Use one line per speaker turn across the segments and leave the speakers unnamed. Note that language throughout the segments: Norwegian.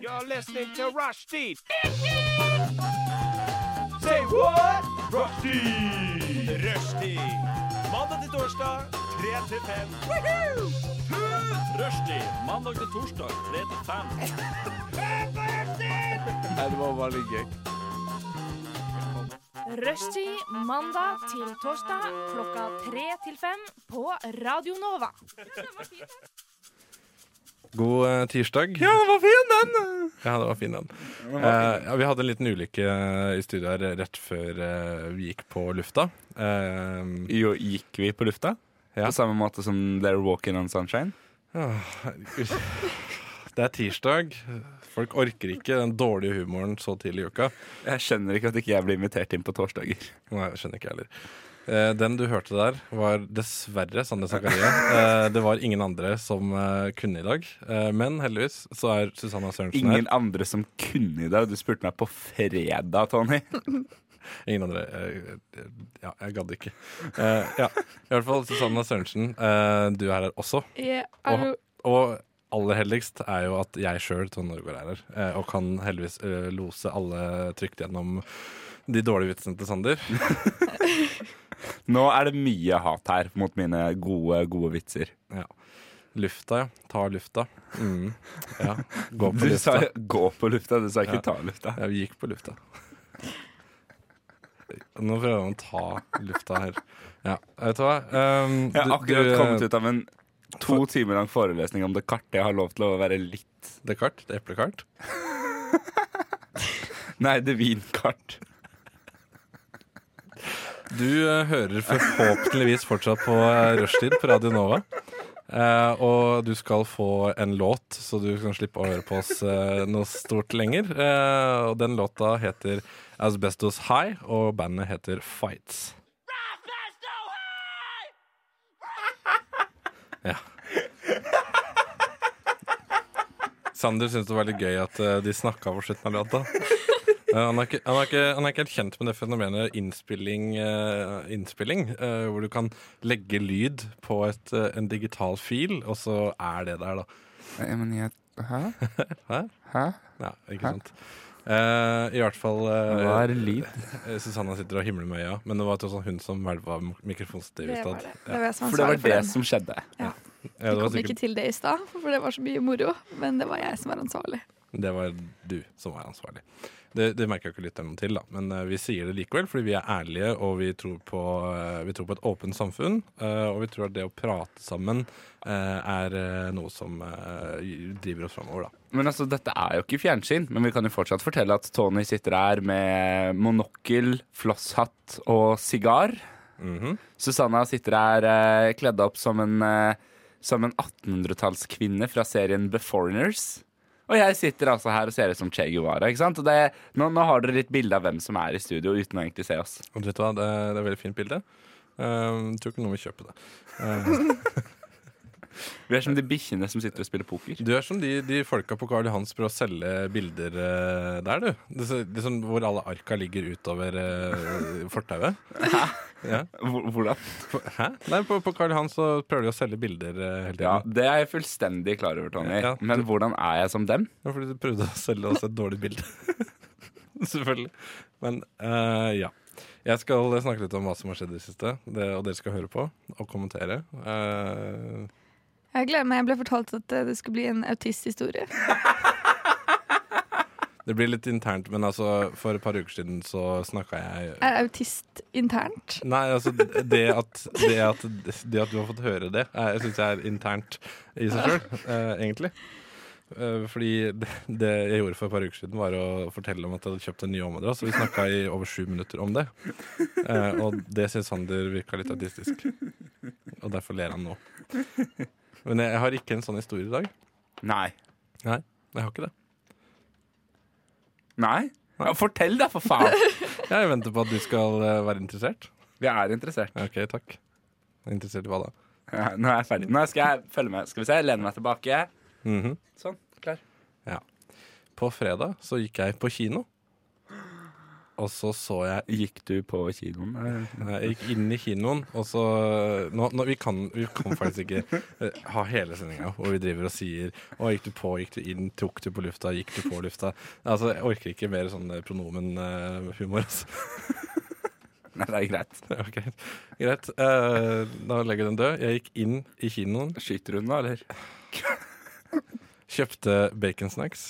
You're listening to Rushdie. Say what? Rushdie. Rushdie. Mandag til torsdag, 3 til 5. Rushdie. Mandag til torsdag, 3 til 5. Nei, det var veldig gøy.
Rushtid mandag til torsdag klokka tre til fem på Radio Nova.
God eh, tirsdag.
Ja, den var fin, den!
Ja, det var fin den. Eh, ja, vi hadde en liten ulykke eh, i studio her rett før eh, vi gikk på lufta. Eh,
Jo, gikk vi på lufta?
Ja.
På samme måte som They're Walking on Sunshine?
det er tirsdag. Folk orker ikke den dårlige humoren så tidlig i uka.
Jeg skjønner ikke at ikke jeg blir invitert inn på torsdager.
Nei, jeg skjønner ikke jeg heller. Eh, den du hørte der, var dessverre Sande Zakaria. Eh, det var ingen andre som eh, kunne i dag. Eh, men heldigvis så er Susanna Sørensen
Ingen andre som kunne i dag. Du spurte meg på fredag, Tony.
her. Ingen andre. Eh, ja, jeg gadd ikke. Eh, ja. I hvert fall Susanna Sørensen, eh, du er her også.
Ja,
Og,
hallo.
og aller heldigst er jo at jeg sjøl, Tone Norgård, er her. eh, og kan heldigvis eh, lose alle trygt gjennom de dårlige vitsene til Sander.
Nå er det mye hat her mot mine gode, gode vitser.
Ja. Lufta, ja. Ta lufta. Mm. Ja. Gå på
Du
lufta.
sa 'gå på lufta', du sa
Ja.
ikke 'ta lufta'.
Ja, vi gikk på lufta. Nå prøver han å ta lufta her. Ja, vet du hva? Um,
Jeg har
du-
akkurat
du,
kommet ut av en to timer lang forelesning om det kartet. Jeg har lov til å være litt
Det er kart? Det er eplekart?
Nei, det vinkart.
Du eh, hører forhåpentligvis fortsatt på eh, Rushtid på Radio Nova. Eh, og du skal få en låt, så du kan slippe å høre på oss eh, noe stort lenger. Eh, og den låta heter Asbestos High, og bandet heter Fights. Ja. Sander syntes det var litt gøy at eh, de snakka på slutten av låta. Eh, Han er, ikke, han, er ikke, han er ikke helt kjent med det fenomenet innspilling, eh, innspilling eh, hvor du kan legge lyd på et, eh, en digital fil, og så er det der, da.
Nei, men jeg Hæ?
Hæ?
Hæ?
Ja, ikke sant? Eh, I hvert fall eh,
Hva er lyd?
eh, Susanna sitter og himler med øya, men det var tross alt hun som hvelva mikrofonstativet i
Det var
stad.
det. Det var jeg som
For det
ansvarlig
var
for
det
den.
som skjedde.
Ja,
Vi
det, var
kom ikke
sikkert-
til det i stad, for det var så mye moro. Men det var jeg som var ansvarlig.
det var du som var ansvarlig. Det, det merker jo ikke lytterne til, da. men eh, vi sier det likevel fordi vi er ærlige og vi tror på, eh, vi tror på et åpent samfunn. eh, og vi tror at det å prate sammen eh, er eh, noe som eh, driver oss framover, da.
Men altså, dette er jo ikke fjernsyn, men vi kan jo fortsatt fortelle at Tony sitter her med monokkel, flosshatt og sigar.
Mhm.
Susanna sitter her eh, kledd opp som en, eh, som en 1800-tallskvinne fra serien The Foreigners. Og jeg sitter altså her og ser ut som Che Guevara. ikke sant? Og det, nå, nå har dere litt bilde av hvem som er i studio, uten å egentlig se oss.
Og vet du hva, det, det er et veldig fint bilde. Eh, tror ikke noen vil kjøpe det. Eh,
Vi er som de bikkjene som sitter og spiller poker.
du er som de, de folka på Karl Johans prøver å selge bilder eh, der, du. Det, ser- det er sånn hvor alle arka ligger utover eh, fortauet. Ja.
Hvor- Hvordan?
På- Hæ? Nei, på, på Karl Johan så prøver de å selge bilder eh, hele
Ja,
tiden.
Det er jeg fullstendig klar over, Tony.
Ja.
Men hvordan er jeg som dem?
Ja. Fordi de prøvde å selge oss et dårlig bilde. Selvfølgelig. Men eh, ja. Jeg skal snakke litt om hva som har skjedd i det siste, det, og dere skal høre på og kommentere. Eh,
Jeg gleder meg. Jeg ble fortalt at eh, det skulle bli en autisthistorie.
det blir litt internt, men altså, for et par uker siden så snakka jeg
Er autist internt?
Nei, altså det at, det at, det at du har fått høre det, er- jeg syns jeg er internt i seg sjøl, eh, egentlig. Eh, fordi det, det jeg gjorde for et par uker siden, var å fortelle om at jeg hadde kjøpt en ny ommadrass, og vi snakka i over sju minutter om det. Eh, og det syns Sander virka litt autistisk. Og derfor ler han nå. Men jeg, jeg har ikke en sånn historie i dag.
Nei.
Jeg har ikke det.
Nei? Ja, fortell, da, for faen!
Jeg venter på at du skal eh, være interessert.
Vi er interessert.
OK, takk. Interessert i hva da?
Ja, nå er jeg ferdig. Nå skal jeg følge med. Skal vi se, lene meg tilbake.
Mhm.
Sånn, klar.
På fredag så gikk jeg på kino. og så så jeg
Gikk du på kinoen?
Nei, Jeg gikk inn i kinoen, og så nå, nå, vi, kan, vi kan faktisk ikke eh, ha hele sendinga hvor vi driver og sier Å, gikk du på, gikk du inn, tok du på lufta, gikk du på lufta? Altså, Jeg orker ikke mer sånn eh, pronomenhumor. Altså.
Nei, det er greit.
Ok, Greit. Eh, da legger jeg den død. Jeg gikk inn i kinoen,
Skyter hun da, eller?
kjøpte baconsnacks.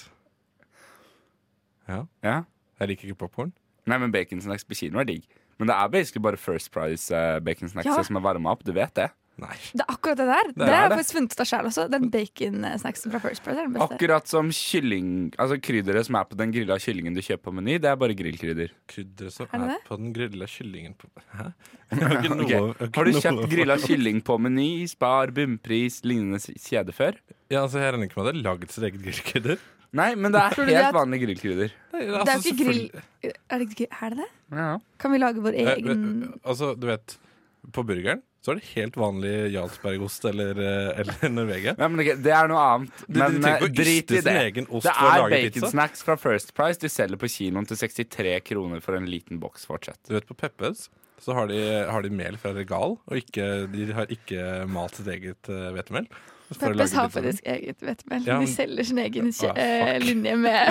Ja.
Ja.
Jeg liker ikke popkorn.
Nei, men baconsnacks på kino er digg. Men det er basically bare First Price eh, baconsnacks
Ja.
som er varma opp. Du vet det.
Nei.
Det er akkurat det der. Det,
er
har jeg
det.
faktisk funnet ut av sjæl også. Den baconsnacksen fra First Price er den beste.
Akkurat som kylling Altså krydderet som er på den grilla kyllingen du kjøper på Meny, det er bare grillkrydder.
Krydderet som
Er det
er,
det?
på den grilla kyllingen på Hæ? Jeg har ikke noe- jeg
Ok. Har du
ikke
kjøpt
noe-
grilla kylling på Meny, Spar, Bunnpris, lignende s- kjede før?
Ja, altså, Jeg regner ikke med at jeg har lagd sitt eget grillkrydder.
Nei, men det er
Tror du
helt
det at-
vanlige grillkrydder.
altså,
Det er jo ikke grill... Er det, ikke- er det det?
Ja.
Kan vi lage vår
Eh,
egen
eh, Altså, du vet På burgeren så er det helt vanlig Jarlsbergost eller, eh, eller Norvegia.
Nei, men ok, det er noe annet.
Du- du
Men
trenger ikke
eh,
å
drit
yste
i
sin
det.
egen ost
Det
for å
er
lage pizza.
baconsnacks fra First Price. Du selger på kinoen til 63 kroner for en liten boks fortsatt.
Du vet, på Peppes så har de, har de mel fra regal, og ikke, de har ikke malt sitt eget eh, hvetemel. for å lage
Peppes har
pizzaen.
faktisk eget vetemel.
Ja,
De
men-
selger sin egen kje-
Ah, fuck.
eh, linje med,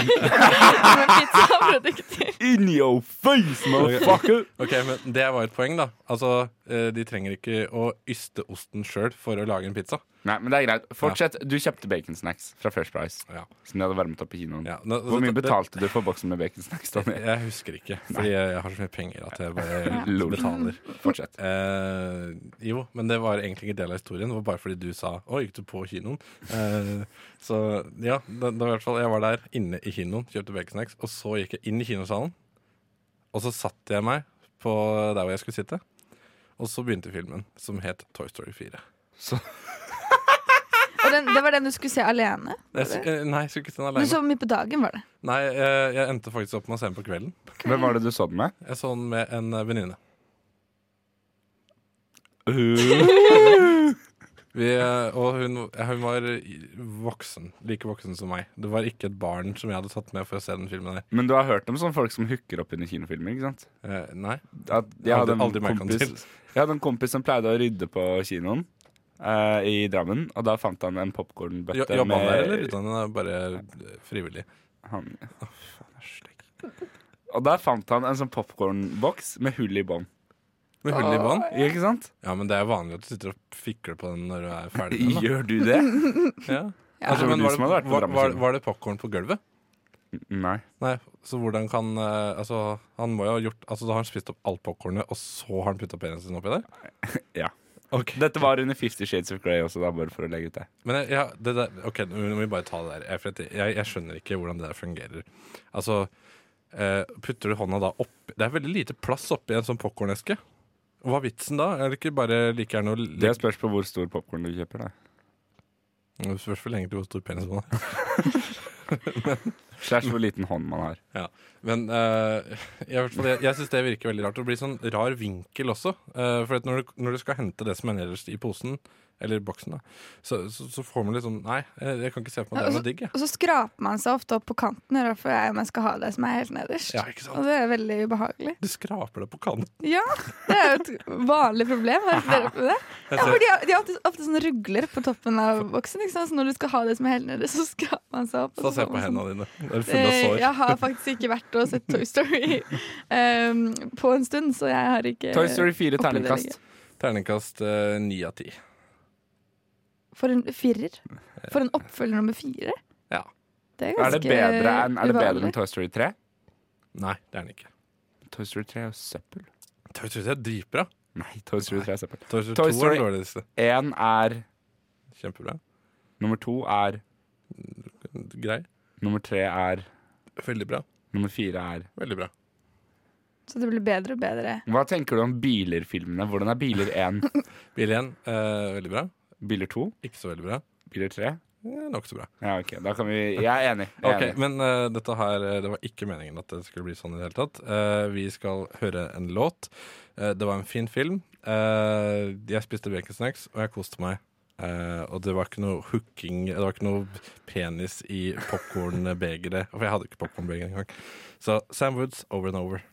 med pizzaprodukter.
In your face,
motherfucker! Ok, men Det var et poeng, da. Altså, eh, De trenger ikke å yste osten sjøl for å lage en pizza.
Nei, men det er greit. Fortsett. Du kjøpte baconsnacks fra First Price.
Ja.
Som de hadde varmet opp i kinoen.
Ja, nå-
Hvor mye
det-
betalte du for boksen med baconsnacks? Daniel?
Jeg husker ikke, fordi jeg, jeg har så mye penger at jeg bare
Lol.
betaler.
Fortsett.
Eh, jo, men det var egentlig ikke del av historien. Det var bare fordi du sa 'Å, gikk du på kinoen?' Eh, så ja, det, det var i hvert fall jeg var der inne i kinoen, kjøpte baconsnacks, og så gikk jeg inn i kinosalen. Og så satte jeg meg på der hvor jeg skulle sitte, og så begynte filmen, som het Toy Story 4.
Og den, det var den du skulle se alene?
Jeg, sk- eh, nei, jeg skulle ikke se den
Du
alene.
så mye på dagen, var det?
Nei, eh, jeg, jeg endte faktisk opp med å se den på kvelden.
Hvem var det du så den med?
Jeg så den med en eh, venninne. Vi, eh, og hun, hun var i- voksen, like voksen som meg. Det var ikke et barn som jeg hadde tatt med for å se den filmen her.
Men du har hørt om sånne folk som hooker opp under kinofilmer, ikke sant?
Eh, nei.
At jeg, hadde en
Aldri- aldri merket han til.
kompis, jeg hadde en kompis som pleide å rydde på kinoen eh, i Drammen, og da fant han en
Jo-
popkornbøtte
Jobba han der, eller? Utan han er bare eh, frivillig.
Han, Å, faen, jeg er stygg. og der fant han en sånn popkornboks med hull i bånn.
Med hull i bånd?
Ikke sant?
Ja, men det er vanlig at du sitter og fikler på den når du er ferdig med den. da.
Gjør du det?
Ja.
Ja, det
Altså,
var
men var,
du
det,
som hadde vært på
var,
Drammen
var,
kino.
var det popkorn på gulvet?
Nei.
Nei, så hvordan kan eh, Altså, han må jo ha gjort Altså, da har han spist opp alt popkornet, og så har han putta penisen sin oppi der?
Ja.
Ok.
Dette var under Fifty Shades of Grey også, da, bare for å legge ut det.
Men jeg, ja, det der, ok, nå må vi bare ta det der. Jeg, for at jeg, jeg skjønner ikke hvordan det der fungerer. Altså, eh, putter du hånda da opp Det er veldig lite plass oppi en sånn popkorneske. Hva er vitsen da? Er det ikke bare like gjerne å
Det
legge
spørs på hvor stor popkorn du kjøper, da.
Det spørs vel egentlig hvor stor penis man har.
Slash hvor liten hånd man har.
Men eh, jeg, i hvert fall- jeg, jeg syns det virker veldig rart. Og det blir sånn rar vinkel også. Eh, for at når, du, når du skal hente det som er nederst i posen, eller boksen, da, så, så, så får man litt sånn Nei, jeg, jeg kan ikke se for meg det er noe digg, jeg.
Og så skraper man seg ofte opp på kanten, i hvert fall jeg om jeg skal ha det som er helt nederst.
Ja, ikke sant?
Og det er veldig ubehagelig.
Du skraper deg på kanten.
Ja, det er jo et vanlig problem. Har dere opplevd det? Ja, for de har, de har ofte, ofte sånne rugler på toppen av boksen, ikke sant? så når du skal ha det som er helt nederst, så skraper man seg opp. og
Så se
får
på
man sånn-
hendene dine. Det er fulle av
Eh,
sår.
Jeg har faktisk ikke vært og sett Toy Story em, på en stund, så jeg har ikke
Toy Story 4,
opplevd det
terningkast.
Terningkast eh, ni av ti.
For en firer. For en oppfølger nummer fire.
Ja.
Det er
Er
ganske
det bedre enn, er det bedre
uvanlig.
enn Toy Story 3?
Nei, det er den ikke.
Toy Story 3 er jo søppel.
Toy Story 3 er dritbra.
Nei, Toy Story 3 er søppel.
Toy Story 2
Toy Story-
er den dårligste.
Én er
Kjempebra.
nummer to er
Grei.
Nummer tre er
Veldig bra.
Nummer fire er
Veldig bra.
Så det blir bedre og bedre.
Hva tenker du om biler-filmene? Hvordan er biler én?
Bil 1, eh, veldig bra.
Biler to?
Ikke så veldig bra.
Biler tre?
Eh, Nok så bra.
Ja, ok, da kan vi Jeg er enig. Jeg er
Ok,
enig.
Men eh, dette her, eh, det var ikke meningen at det skulle bli sånn i det hele tatt. Eh, vi skal høre en låt. Eh, det var en fin film. Eh, jeg spiste baconsnacks, og jeg koste meg. Eh, og det var ikke noe hooking Det var ikke noe penis i popkornbegeret. For jeg hadde ikke popkornbeger engang. Så Sam Woods, Over and Over.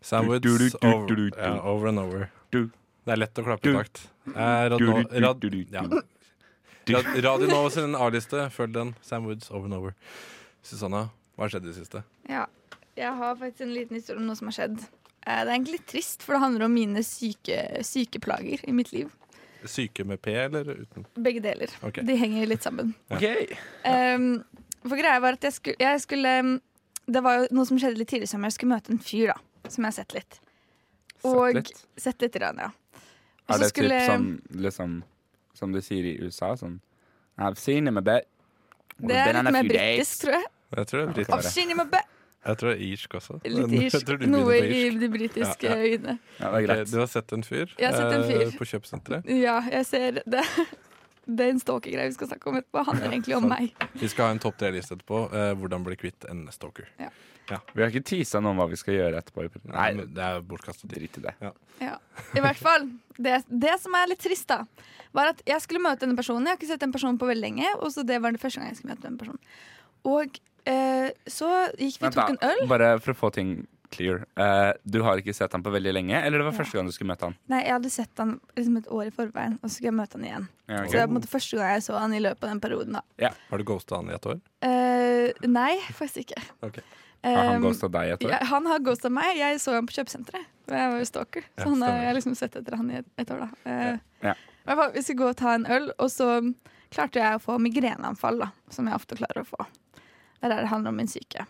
Sandwich over, ja, over and over.
Du.
Det er lett å klappe i takt. Eh, Radio, rad, ja. rad, radio Nova sin A-liste, følg den. Sam Woods, over and over. Susanna, hva har skjedd i det siste?
Ja, jeg har faktisk en liten historie om noe som har skjedd. Eh, Det er egentlig litt trist, for det handler om mine syke, sykeplager i mitt liv.
Syke med P eller uten?
Begge deler.
Ok.
De henger litt sammen.
Ok.
Ehm, for greia var at jeg skulle, jeg skulle ehm, Det var jo noe som skjedde litt tidligere i sommer. Jeg skulle møte en fyr da, som jeg har sett litt. Og-
litt.
Sett litt, grann, ja. Og
Er
så
det
skulle-
typ som, liksom, som de sier i USA? Sånn I've seen him a bit. We've
Det er
been on a
litt mer
few days."
britisk, tror jeg.
Jeg tror det er
Bare.
I've
britisk.
seen him a bit.
Jeg tror det er irsk også.
Litt
Men jeg
irsk.
tror du begynner
Noe
på
i
irsk.
de britiske
Ja,
øyene.
Ja, det er
Ok,
greit.
du har sett en fyr,
Jeg har sett en
eh,
fyr.
på kjøpesenteret.
Ja, jeg ser det. Det er en stalkergreie vi skal snakke om etterpå. Handler egentlig om
sant.
meg.
Vi skal ha en topp tre-liste etterpå. eh, hvordan bli kvitt en stalker.
Vi har ikke tisa noe om hva vi skal gjøre etterpå. Nei,
Nei, det er bortkastet tid.
drit i det.
Ja. I hvert fall. Det, det som er litt trist, da, var at jeg skulle møte denne personen. Jeg har ikke sett den personen på veldig lenge, og så det var det første gang jeg skulle møte den personen. Og eh, så gikk vi
Vent
og
da,
tok en øl.
Bare for å få ting clear. Eh, du har ikke sett han på veldig lenge, eller det var første gang du skulle møte han?
Nei, jeg hadde sett han liksom et år i forveien, og så skulle jeg møte han igjen.
Ja,
Så det er på en måte første gang jeg så han i løpet av den perioden, da.
Har du ghosta han i et år?
Eh, nei, faktisk ikke.
Ok.
Har han
Um,
ghosta deg etter det?
ja, han har ghosta meg. Jeg så ham på kjøpesenteret. Og jeg var jo stalker, så
Ja,
han har
stemmer.
jeg har liksom sett etter han i et, et år. da Eh,
Ja.
i hvert fall, Vi skulle gå og ta en øl, og så klarte jeg å få migreneanfall, da som jeg ofte klarer å få. Det er der det handler om min syke.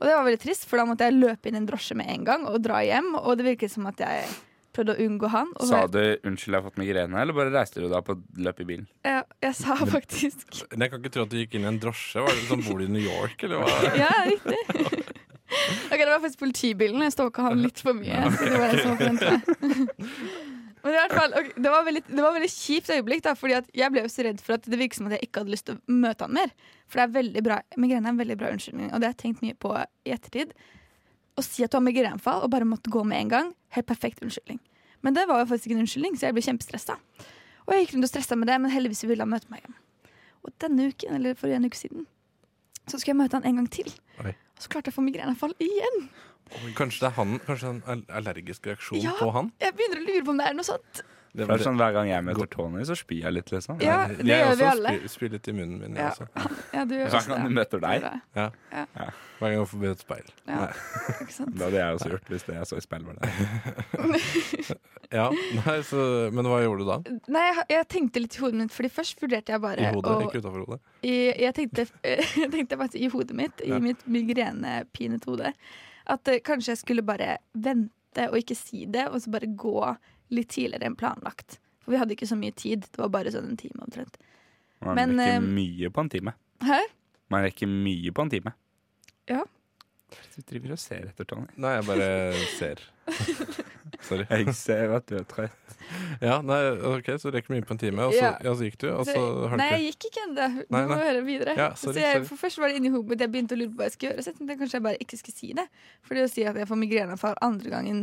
Og det var veldig trist, for da måtte jeg løpe inn i en drosje med en gang og dra hjem. Og det virket som at jeg prøvde å unngå han. Og
Sa du 'unnskyld, jeg har fått migrene', eller bare reiste du da på løp i bilen?
Jeg, ja, jeg sa faktisk
Men jeg kan ikke tro at du gikk inn i en drosje. Var det sånn, Bor du i New York, eller hva?
Ja, riktig. Ok, Det var faktisk politibilen. Jeg stalka han litt for mye. Så det var jeg som forventet. Men i hvert fall, ok, det, var veldig, det var veldig kjipt øyeblikk, da, Fordi at jeg ble jo så redd for at det virket som at jeg ikke hadde lyst til å møte han mer. For det er veldig bra, migrene er en veldig bra unnskyldning, og det har jeg tenkt mye på i ettertid. Å si at du har migrenefall og bare måtte gå med en gang, helt perfekt unnskyldning. Men det var jo faktisk ikke en unnskyldning, så jeg ble kjempestressa. Og jeg gikk rundt og stressa med det, men heldigvis ville han møte meg igjen. Og denne uken, eller for en uke siden, så skulle jeg møte han en gang til.
Oi.
Og så klarte jeg å få migreneanfall igjen.
Kanskje det er han, kanskje det er en al- allergisk reaksjon
Ja.
på han?
Jeg begynner å lure på om det er noe sånt.
Det
Det er sånn, Hver gang jeg møter Tony, så spyr jeg litt, liksom.
Ja,
Jeg-
det
jeg
gjør vi
også
alle.
Spyr, spyr litt i munnen min, jeg
Ja.
også.
Ja, du gjør
Hver
også
gang du
det.
møter
Det er
deg.
bra.
Ja.
Ja.
Hver gang jeg får et speil.
Ja.
Nei.
Ikke sant?
Det hadde jeg også gjort hvis det jeg så i speil var det.
Ja, nei, så, men hva gjorde du da?
Nei, jeg, jeg tenkte litt i hodet mitt, Fordi først vurderte jeg bare
I hodet,
å-
ikke utafor hodet?
i, jeg, tenkte, jeg tenkte faktisk i hodet mitt, i
Ja.
mitt migrenepinet hode, at eh, kanskje jeg skulle bare vente og ikke si det, og så bare gå litt tidligere enn planlagt. For vi hadde ikke så mye tid. Det var bare sånn en time omtrent.
Man
Men, eh,
rekker mye på en time.
Hæ?
Man rekker mye på en time.
Ja.
Du driver og ser etter Tony.
Nei, jeg bare ser. Sorry.
Jeg ser at du er trøtt.
Ja, nei, ok, Så du rekker mye på en time, og så,
Ja.
ja, så gikk du? Og så
Så-
har du
nei,
ikke
jeg gikk ikke ennå. Du
Nei,
må
nei.
høre videre.
Ja, sorry,
så jeg,
sorry.
for først var det inni hodet mitt, jeg begynte å lure på hva jeg skulle gjøre. Så jeg tenkte kanskje jeg bare ikke skulle si det. Fordi å si at jeg får migreneanfall andre gangen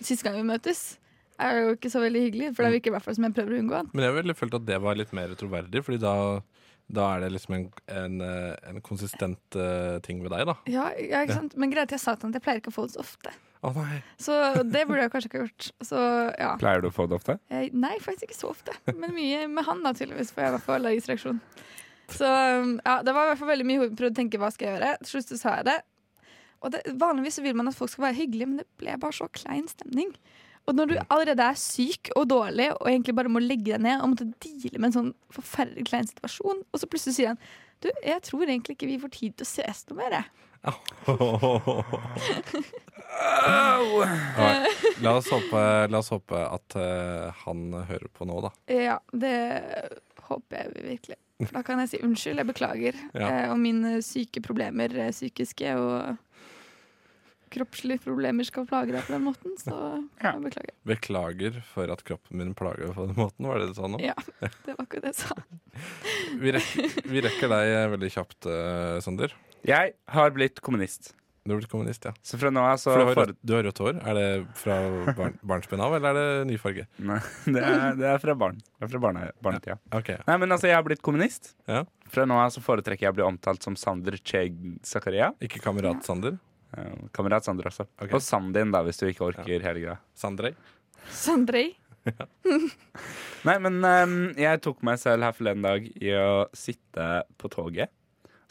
siste gang vi møtes, er jo ikke så veldig hyggelig. For
Mm.
det virker i hvert fall som jeg prøver å unngå han.
Men jeg ville følt at det var litt mer troverdig, Fordi da, da er det liksom en, en, eh, en konsistent eh, ting ved deg, da.
Ja, ja, ikke sant? Men greit, jeg sa til han at jeg pleier ikke å få det så ofte.
Å nei.
Så det burde jeg kanskje ikke ha gjort. Så ja.
Pleier du å få det ofte?
Jeg, Eh, nei, faktisk ikke så ofte. Men mye med han, da, tydeligvis, for jeg var på allergisk reaksjon. Så um, ja, det var i hvert fall veldig mye hodet. Prøvde å tenke hva skal jeg gjøre. Til slutt så sa jeg det. Og det, vanligvis så vil man at folk skal være hyggelige, men det ble bare så klein stemning. Og når du allerede er syk og dårlig og egentlig bare må legge deg ned og måtte deale med en sånn forferdelig klein situasjon, og så plutselig sier han du, jeg tror egentlig ikke vi får tid til å ses noe mer. jeg».
Nei, La oss håpe, la oss håpe at eh, han hører på nå, da.
Ja, det håper jeg virkelig. Da kan jeg si unnskyld, jeg beklager.
Ja.
Eh, og mine syke problemer, eh, psykiske og kroppslige problemer, skal plage deg på den måten. Så jeg beklager.
Beklager for at kroppen min plager deg på den måten, var det du sa nå?
Ja, det var akkurat det jeg sa.
Vi rekker, vi rekker deg eh, veldig kjapt, eh, Sander.
Jeg har blitt kommunist.
Du har blitt kommunist, ja.
Så fra nå av så
For du har,
for...
rødt, du har rødt hår. Er det fra barn, barnsben av, eller er det ny farge?
Nei, det, er, det er fra barn. Det er fra barne, barnetida.
Ok,
Nei, men altså, jeg har blitt kommunist.
Ja.
Fra nå av så foretrekker jeg å bli omtalt som Sander Che Zakaria.
Ikke kamerat Sander?
Eh, Kamerat Sander også.
Ok.
Og Sandin, da, hvis du ikke orker hele greia.
Sandrøy.
Sandrei.
Nei, men ehm, jeg tok meg selv her forleden dag i å sitte på toget.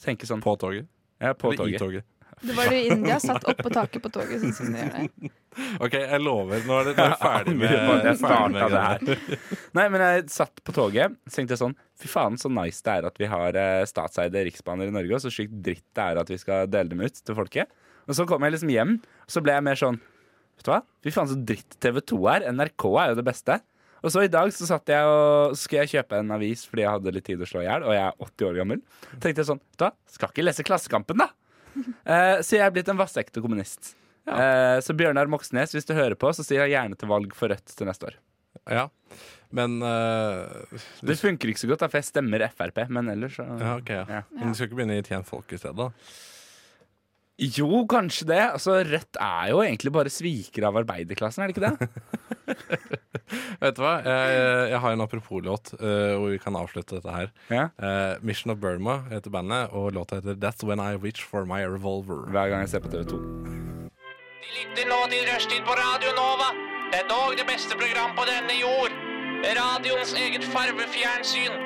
Tenke sånn
På toget.
Ja, på
Eller i
toget.
toget.
Det var du i India, satt oppå taket på toget. Sånn som de gjør det.
OK, jeg lover. Nå er det, nå er det ferdig med,
Angrer på at jeg
ferdig med
startet det her.
greiene.
Nei, men jeg satt på toget så tenkte jeg sånn Fy faen, så nice det er at vi har eh, statseide riksbaner i Norge, og så sykt dritt det er at vi skal dele dem ut til folket. Og så kom jeg liksom hjem, og så ble jeg mer sånn Vet du hva? Fy faen, så dritt TV 2 er. NRK er jo det beste. Og så i dag så satt jeg og så skulle jeg kjøpe en avis fordi jeg hadde litt tid å slå i hjel, og jeg er 80 år gammel. Tenkte jeg sånn Vet du hva, skal ikke lese Klassekampen, da. Eh, så jeg er blitt en vassekte kommunist. Eh, så Bjørnar Moxnes, hvis du hører på, så sier jeg gjerne til valg for Rødt til neste år.
Ja. Men eh,
Det funker ikke så godt, da, for jeg stemmer Frp, men ellers så
ja, ok, ja.
Ja.
Men du skal ikke begynne å tjene folk i stedet? da?
Jo, kanskje det. Altså, Rødt er jo egentlig bare svikere av arbeiderklassen, er det ikke det?
Vet du hva? Jeg, jeg har en apropos-låt eh, hvor vi kan avslutte dette her.
Ja.
Eh, Mission of Burma heter bandet, og låta heter That's When I Reach For My Revolver.
Hver gang jeg ser på TV 2.
De lytter nå til Rushtid på Radio Nova. Det er dog det beste program på denne jord. Radioens eget farvefjernsyn.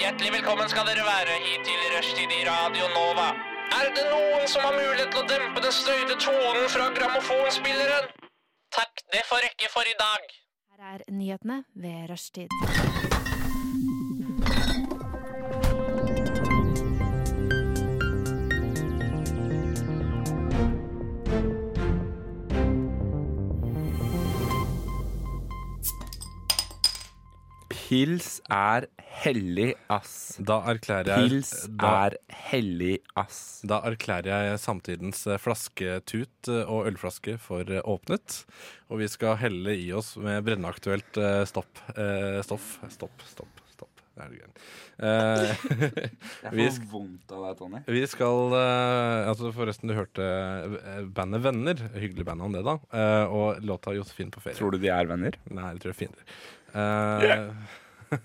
Hjertelig velkommen skal dere være hit til Rushtid i Radio Nova. Er det noen som har mulighet til å dempe den støyte tonen fra grammofonspilleren? Takk, det får rekke for i dag.
Her er nyhetene ved rushtid.
Pils er hellig, ass.
Da erklærer jeg
Pils
da,
er hellig, ass.
da erklærer jeg samtidens eh, flasketut eh, og ølflaske for eh, åpnet. Og vi skal helle i oss med brennaktuelt eh, stopp. Eh, stoff. Stopp, stopp, stopp. Det er det greiene. Eh, vi sk-
vondt av deg, Tony.
Vi skal eh, altså Forresten, du hørte eh, bandet Venner. Hyggelig band om det, da. Eh, og låta Josefin på ferie.
Tror du de er venner?
Nei, jeg tror det er fiender. Eh,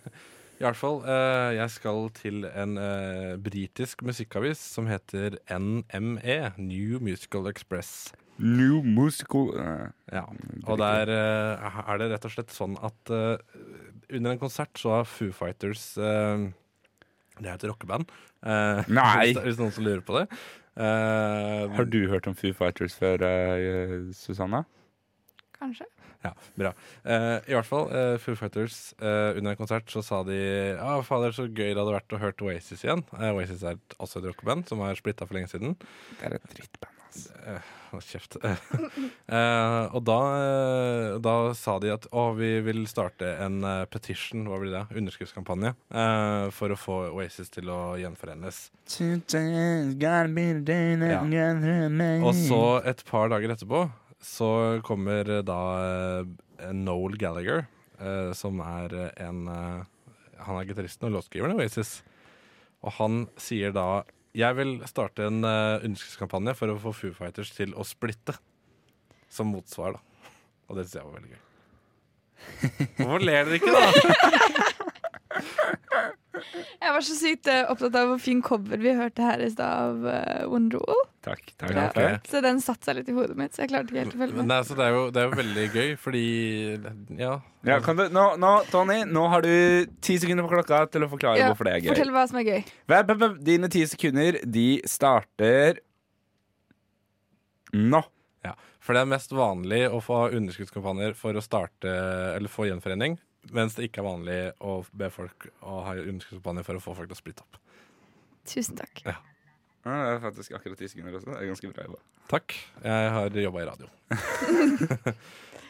I hvert fall, eh, jeg skal til en eh, britisk musikkavis som heter NME, New Musical Express.
New musical eh,
Ja, og der eh, er det rett og slett sånn at eh, under en konsert så har Foo Fighters eh, Det er et rockeband. eh,
Nei.
Hvis, det- hvis noen som lurer på det. Eh,
Har du hørt om Foo Fighters før, eh, Susanna?
Kanskje.
Ja, bra. Eh, I hvert fall, eh, Foo Fighters, eh, under en konsert så sa de Ja, fader, så gøy det hadde vært å høre Oasis igjen. Eh, Oasis er et- også et rockeband som har splitta for lenge siden.
Det er et drittband, ass.
Hold kjeft. Eh, og da, eh, da sa de at å, vi vil starte en eh, petition, hva blir det, underskriftskampanje, eh, for å få Oasis til å gjenforenes.
Today's gotta be the day that
Ja.
I'm gonna make.
Og så, et par dager etterpå, så kommer da eh, Noel Gallagher, eh, som er eh, en eh, Han er gitaristen og låtskriveren i Oasis. Og han sier da Jeg vil starte en eh, underskriftskampanje for å få Foo Fighters til å splitte. Som motsvar, da. Og det syns jeg var veldig gøy. Hvorfor ler dere ikke, da?
Jeg var så sykt eh, opptatt av hvor fin cover vi hørte her i stad av eh, Wonderwall.
Takk. takk,
Ja,
takk.
ok.
Så den satte seg litt i hodet mitt, så jeg klarte ikke helt å følge
Men
med.
det, er, så det, er jo, det er jo veldig gøy, fordi Ja.
Ja, kan du, nå, nå, Tony, nå har du ti sekunder på klokka til å forklare
Ja,
hvorfor det er gøy.
Fortell hva som er gøy.
Vær- vær- vær- Dine ti sekunder, de starter nå.
Ja, for det er mest vanlig å få underskuddskampanjer for å starte eller få gjenforening, mens det ikke er vanlig å be folk å ha underskuddskampanjer for å få folk til å splitte opp.
Tusen takk.
Ja, det er faktisk akkurat ti sekunder også. Det er ganske bra jobba.
Takk. Jeg har jobba i radio.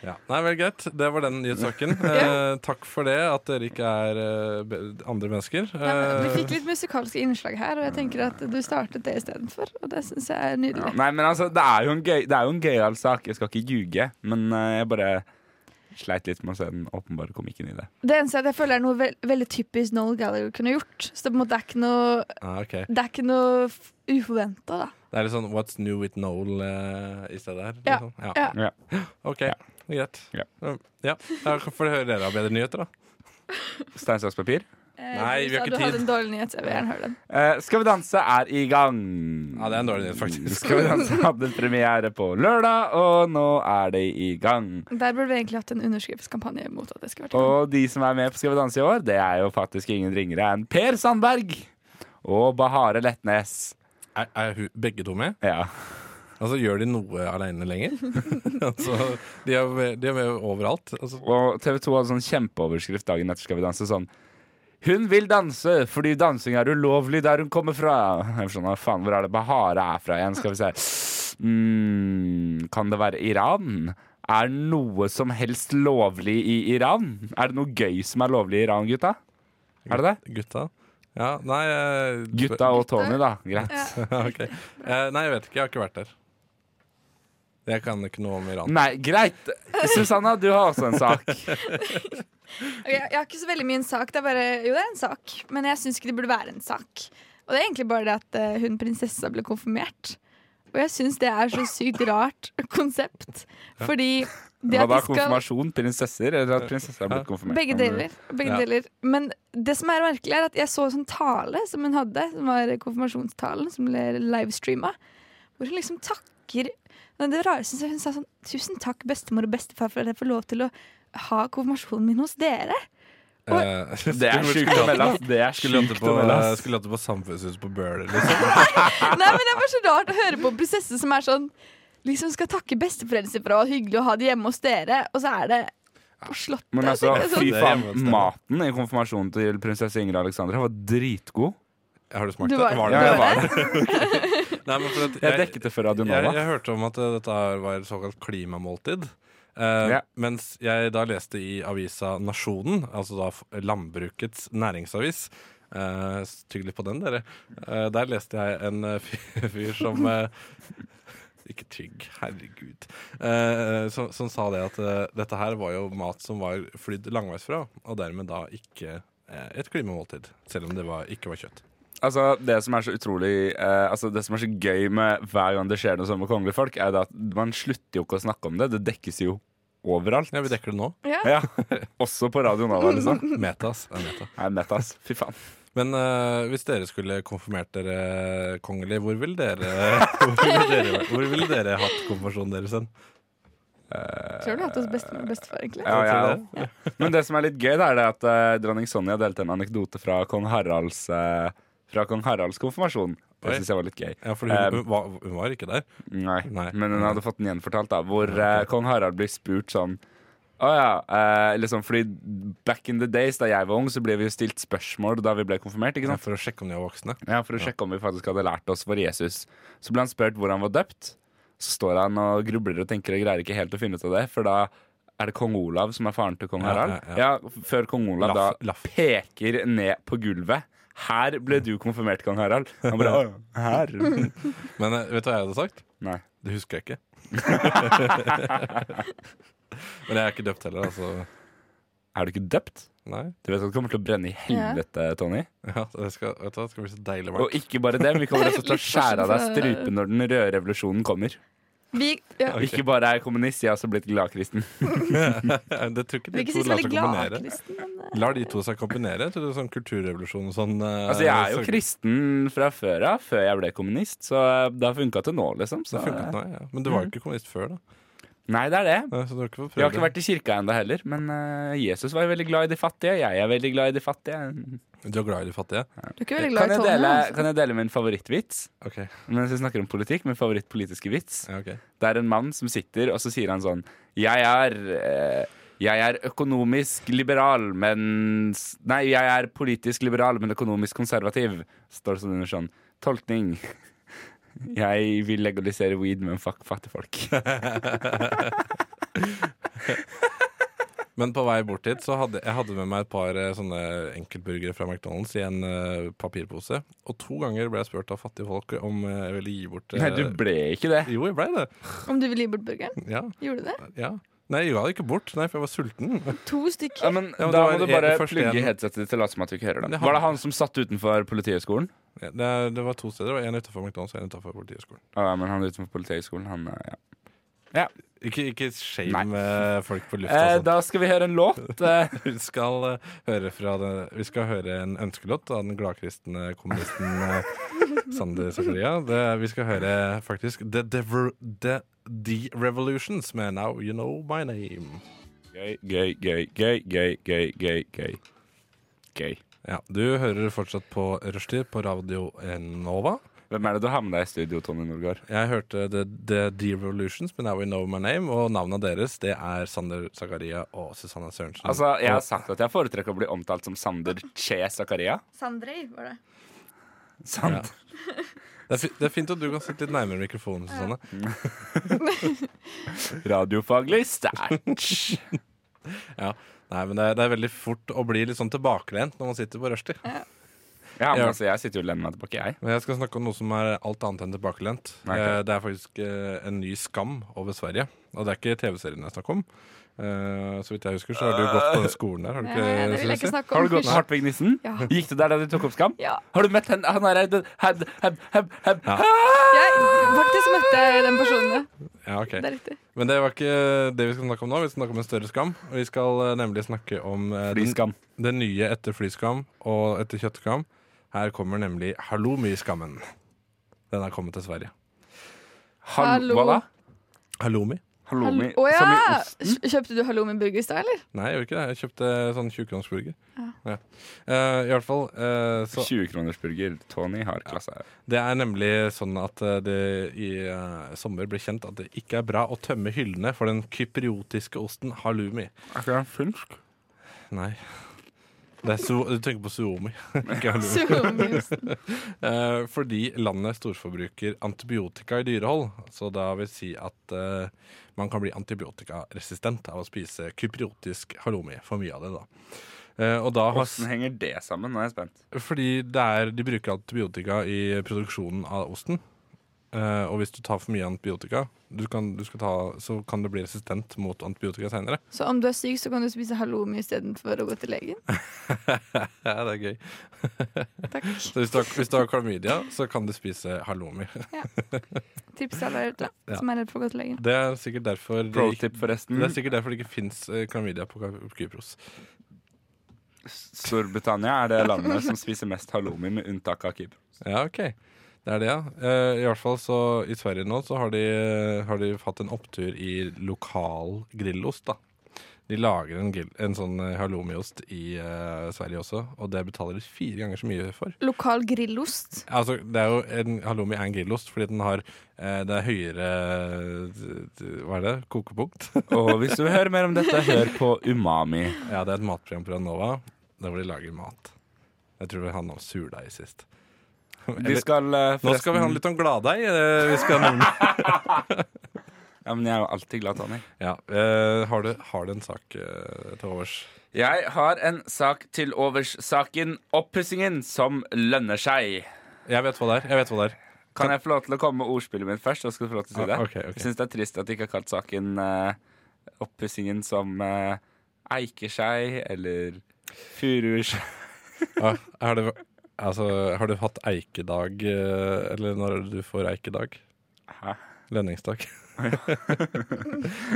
ja. Nei, vel, greit. Det var den nyhetssaken. Eh, takk for det, at dere ikke er eh, be- andre mennesker.
Nei, men vi
Eh,
fikk litt musikalske innslag her, og jeg tenker at du startet det istedenfor. Og det syns jeg er
Ja,
nydelig.
nei, men altså, det er jo en gøy- det er jo en gøyal sak. Jeg skal ikke ljuge, men eh, jeg bare sleit litt med å se den åpenbare komikken i det.
Det eneste er at jeg føler er noe vel- veldig typisk Noel Gallagher kunne gjort. Så det, på en måte er ikke noe,
ah, ok.
det er ikke noe uforventa, da.
Det er litt sånn What's New With Noel eh, i stedet her.
Ja.
liksom.
Ja.
Ja.
OK,
Ja.
greit. Mm,
Ja.
Ja. ja. Da får dere høre dere har bedre nyheter, da.
Stein, saks, papir.
Nei, vi har ikke
Du Eh, hadde
tid.
en dårlig nyhet, så jeg vil gjerne høre den.
Eh, Skal vi danse er i gang.
Ja, det er en dårlig nyhet, faktisk.
Skal vi danse hadde premiere på lørdag, og nå er det i gang.
Der burde vi egentlig hatt en underskriftskampanje mot at det skulle vært i gang.
Og de som er med på Skal vi danse i år, det er jo faktisk ingen ringere enn Per Sandberg og Bahare Letnes.
Er, er hu- begge to med?
Ja.
Altså, Gjør de noe aleine lenger? altså, de er, med- de er med overalt. Altså,
Og TV 2 hadde sånn kjempeoverskrift dagen etter Skal vi danse sånn Hun vil danse fordi dansing er ulovlig der hun kommer fra. Jeg skjønner, faen, Hvor er det Bahare er fra igjen? Skal vi se mm, Kan det være Iran? Er noe som helst lovlig i Iran? Er det noe gøy som er lovlig i Iran, gutta? Er det det?
gutta? Ja, nei eh,
Gutta og Tony, da. Greit.
Ja.
ok. Eh, nei, jeg vet ikke. Jeg har ikke vært der. Jeg kan ikke noe om Iran.
Nei, greit. Susanna, du har også en sak.
Ok, jeg har ikke så veldig mye en sak. Det er bare, jo, det er en sak, men jeg syns ikke det burde være en sak. Og det er egentlig bare det at eh, hun prinsessa ble konfirmert. Og jeg syns det er så sykt rart konsept. Fordi det
Hva
at
da?
de skal
Konfirmasjon? Prinsesser? Eller at prinsesser er blitt konfirmert?
Begge deler. Begge
Ja.
deler. Men det som er merkelig, er at jeg så en sånn tale som hun hadde, som var konfirmasjonstalen, som ble livestreama, hvor hun liksom takker Men Det rare synes jeg hun sa sånn Tusen takk, bestemor og bestefar, for at jeg får lov til å ha konfirmasjonen min hos dere.
Eh,
Det er
skulle-
sjukt å melde, ass. Det er
Skulle hatt det
sjukt
på,
å melde, ass.
skulle hatt det på Samfunnshuset på Bøhler, liksom.
Nei, men Det er bare så rart å høre på en prinsesse som er sånn Liksom skal takke besteforeldre sine for å ha hyggelig å ha det hjemme hos dere, og så er det på Slottet.
Men altså,
tenker jeg
fy
sånn,
Det er
faen,
hjemmestemme.
maten i konfirmasjonen til prinsesse Ingrid Alexandra var dritgod.
Har du smakt
Du
det?
var-
Var
Ja,
det?
jeg var det.
Nei, men for at
Jeg dekket det før Radio
Jeg,
Nova.
jeg hørte om at eh, dette her var et såkalt klimamåltid. Eh,
Ja.
Mens jeg da leste i avisa Nasjonen, altså da f- landbrukets næringsavis eh, Tygg litt på den, dere. Eh, der leste jeg en eh, fyr, fyr som eh, Ikke tygg, herregud. Eh, som, som sa det at eh, dette her var jo mat som var flydd langveisfra, og dermed da ikke eh, et klimamåltid. Selv om det var, ikke var kjøtt.
Altså, det som er så utrolig eh, Altså, det som er så gøy med hver gang det skjer noe sånt med kongelige folk, er det at man slutter jo ikke å snakke om det. Det dekkes jo overalt.
Ja, vi dekker det nå.
Ja. Også på Radio Nova, liksom.
Meta, ass. Det er meta.
Nei, nett, ass. Fy faen.
Men eh, hvis dere skulle konfirmert dere kongelig, hvor ville dere, hvor ville dere, hvor ville dere hatt konfirmasjonen deres hen?
Tror du hatt hos bestemor og bestefar, egentlig?
Ja, ja. Men det som er litt gøy, da, er det at eh, dronning Sonja delte en anekdote fra kong Haralds, eh, fra kong Haralds konfirmasjon.
Oi.
Det syns jeg var litt gøy.
Ja, for hun,
Eh,
hun, var, hun var ikke der.
Nei.
Nei.
Men hun hadde fått den gjenfortalt, da, hvor eh, kong Harald blir spurt sånn å ja, eh, liksom fordi back in the days da jeg var ung, så ble vi jo stilt spørsmål da vi ble konfirmert. ikke
Ja,
sant?
for å sjekke om de var voksne.
Ja, For å sjekke om vi faktisk hadde lært oss for Jesus. Så ble han spurt hvor han var døpt. Så står han og grubler og tenker og greier ikke helt å finne ut av det, for da er det kong Olav som er faren til kong
Ja,
Harald.
ja,
Ja, Før kong Olav da
Laff, laff.
peker ned på gulvet. Her ble du konfirmert, kong Harald. Han bare «Å, Her?
Men eh, vet du hva jeg hadde sagt?
Nei.
Det husker jeg ikke. Men jeg er ikke døpt heller, altså.
Er du ikke døpt?
Nei.
Du vet at det kommer til å brenne i helvete, Tony.
Ja, det skal, vet du hva, det skal bli så deilig
Og
varmt.
ikke bare det, men vi kommer også til å
Litt
skjære av deg
forskjell fra-
strupen når den røde revolusjonen kommer.
Vi, ja.
Ok.
Ikke bare er jeg kommunist, jeg har også blitt gladkristen.
Det tror ikke
Vi er
de
ikke
to
si så
lar
veldig
seg
glad,
kombinere.
Kristen. men, eh,
Lar de to seg kombinere? Tror du sånn kulturrevolusjon og sånn eh,
Altså, jeg er jo
sørge-
kristen fra før av, før jeg ble kommunist, så eh, det har funka til nå, liksom. Så, eh,
Det funket nå, ja. Men du
Mm.
var jo ikke kommunist før, da.
nei, det er det.
Ja, Så du har ikke fått prøve
Jeg har ikke
det.
vært i kirka ennå heller, men eh, Jesus var jo veldig glad i de fattige. Jeg er veldig glad i de fattige.
Du er glad i de fattige?
eh, Du er ikke veldig
Kan
glad i
jeg,
Tony.
dele,
altså.
kan jeg dele min favorittvits?
Ok,
Mens vi snakker om politikk, min favorittpolitiske vits.
ja, ok.
Det er en mann som sitter, og så sier han sånn Jeg er, eh, jeg er økonomisk liberal, men s- Nei, jeg er politisk liberal, men økonomisk konservativ. Står det sånn under sånn. Tolkning. Jeg vil legalisere weed, men fuck fattige folk.
Men på vei bort hit så hadde jeg hadde med meg et par eh, sånne enkeltburgere fra McDonald's i en eh, papirpose. Og to ganger ble jeg spurt av fattige folk om eh, jeg ville gi bort eh,
Nei, du ble ikke det.
Jo, jeg blei det.
Om du vil gi bort burgeren?
Ja,
Gjorde du det?
ja. Nei, jeg ga det ikke bort, nei, for jeg var sulten.
To stykker.
Ja, men,
Ja, men
da
det
må
var
du
en-
bare
først
plugge
en-
headsetet ditt til å late som at du ikke hører
Det
det.
har-
Var det han som satt utenfor Politihøgskolen?
Det, det var to steder. Det var En utafor McDonald's og en utafor Politihøgskolen.
Ja, men han utenfor Politihøgskolen, han eh, ja. ja.
Ikke, ikke shame eh, folk på lufta.
Eh,
og sånt.
da skal vi høre en låt. Eh,
Vi skal, eh, høre fra den, vi skal høre en ønskelåt av den gladkristne kommunisten eh, Sander Zakaria. Det- Vi skal høre faktisk The, Dever, The, The Revolutions med Now You Know My Name.
Gøy, gøy, gøy, gøy, gøy, gøy, gøy. Gøy. gøy.
Ja, du hører fortsatt på Rushtid på Radio Nova.
Hvem er det du har med deg i studio, Tony Norgard?
Jeg hørte The, The Revolutions med Now You Know My Name, og navnene deres det er Sander Zakaria og Susanne Sørensen.
Altså, Jeg har sagt at jeg foretrekker å bli omtalt som Sander Che Zakaria.
Sandrei, var det.
Sant?
det, er fi, det er fint at du kan sitte litt nærmere mikrofonen, Susanne.
Radiofaglig sterkt.
Ja. Nei, men det er, det er veldig fort å bli litt sånn tilbakelent når man sitter på rushtid.
Ja, men
Ja.
altså, jeg sitter jo og lener meg tilbake, jeg.
Men jeg skal snakke om noe som er alt annet enn tilbakelent.
Nei, ok.
Eh, Det er faktisk eh, en ny skam over Sverige. Og det er ikke TV-serien jeg snakker om. Eh, Så vidt jeg husker, så har du gått på den skolen der. Har du
Nei, det
ikke,
vil jeg ikke
Celestia?
snakke om.
Har du gått med
Hysj.
Hartvig Nissen?
Ja.
Gikk du der da de tok opp Skam?
Ja.
Har du møtt henne? Han er her heb, heb, heb, heb.
Ja.
Jeg faktisk møtte jeg den personen. ja.
Ja, ok.
Det er riktig.
Men det var ikke det vi skal snakke om nå. Vi skal snakke om en større skam. Vi skal eh, nemlig snakke om eh, den,
Flyskam.
det nye etter flyskam og etter kjøttskam. Her kommer nemlig halloumi-skammen. Den har kommet til Sverige.
Hall- Hva da?
Hallo.
Halloumi?
Halloumi.
Å
Som i
ja!
osten?
Kj- Kjøpte du halloumi burger i stad, eller?
Nei, jeg gjorde ikke det. Jeg kjøpte sånn 20-kronersburger. Ja. Eh, I hvert fall eh, så
20-kronersburger. Tony har klasse.
Det er nemlig sånn at eh, det i eh, sommer ble kjent at det ikke er bra å tømme hyllene for den kypriotiske osten halloumi.
Er ikke han finsk?
Nei. Det er su du tenker på suomi. ikke halloumi.
Zoom-osten.
Eh, fordi landet storforbruker antibiotika i dyrehold. Så da vil si at eh, man kan bli antibiotikaresistent av å spise kypriotisk halloumi. For mye av det, da. Eh, og da har s-
Hvordan henger det sammen? Nå er jeg spent.
Fordi det er, de bruker antibiotika i produksjonen av osten. Eh, og hvis du tar for mye antibiotika, du kan, du skal ta, så kan du bli resistent mot antibiotika seinere.
Så om du er syk, så kan du spise halloumi istedenfor å gå til legen?
ja, det er gøy.
Takk.
Så hvis du, har, hvis du har klamydia, så kan du spise halloumi.
Tips til alle der ute
Ja.
som er redd for å gå til legen.
Det er sikkert derfor det,
Pro
ikke-
tip, forresten.
det, er sikkert derfor det ikke fins klamydia på Ky- Kypros.
Storbritannia er det landet som spiser mest halloumi, med unntak av Kypr.
Ja, ok. Det er det, ja. Eh, I hvert fall så i Sverige nå så har de, har de hatt en opptur i lokal grillost, da. De lager en, grill, en sånn eh, halloumiost i eh, Sverige også, og det betaler de fire ganger så mye for.
Lokal grillost.
Altså, det er jo en, halloumi er en grillost fordi den har eh, det er høyere eh, Hva er det? Kokepunkt?
Og hvis du vil høre mer om dette, hør på Umami.
ja, det er et matprogram på Ranova der hvor de lager mat. Jeg tror det handla om surdeig sist.
De skal eh,
Nå skal vi handle litt om gladdeig. eh, Vi skal nemlig
Ja, men jeg er jo alltid glad, Tony.
Ja, eh, har, du, har du en sak eh, til overs?
Jeg har en sak til overs. Saken Oppussingen som lønner seg.
Jeg vet hva det er. jeg vet hva det er
Kan jeg få lov til å komme med ordspillet mitt først? Og skal du få lov til å si det?
Ah, ok, ok.
Jeg syns det er trist at de ikke har kalt saken eh, Oppussingen som eh, eiker seg, eller furuer seg.
ah, har, du, altså, har du hatt eikedag, eh, eller når er det du får eikedag?
Hæ?
Lønningsdag.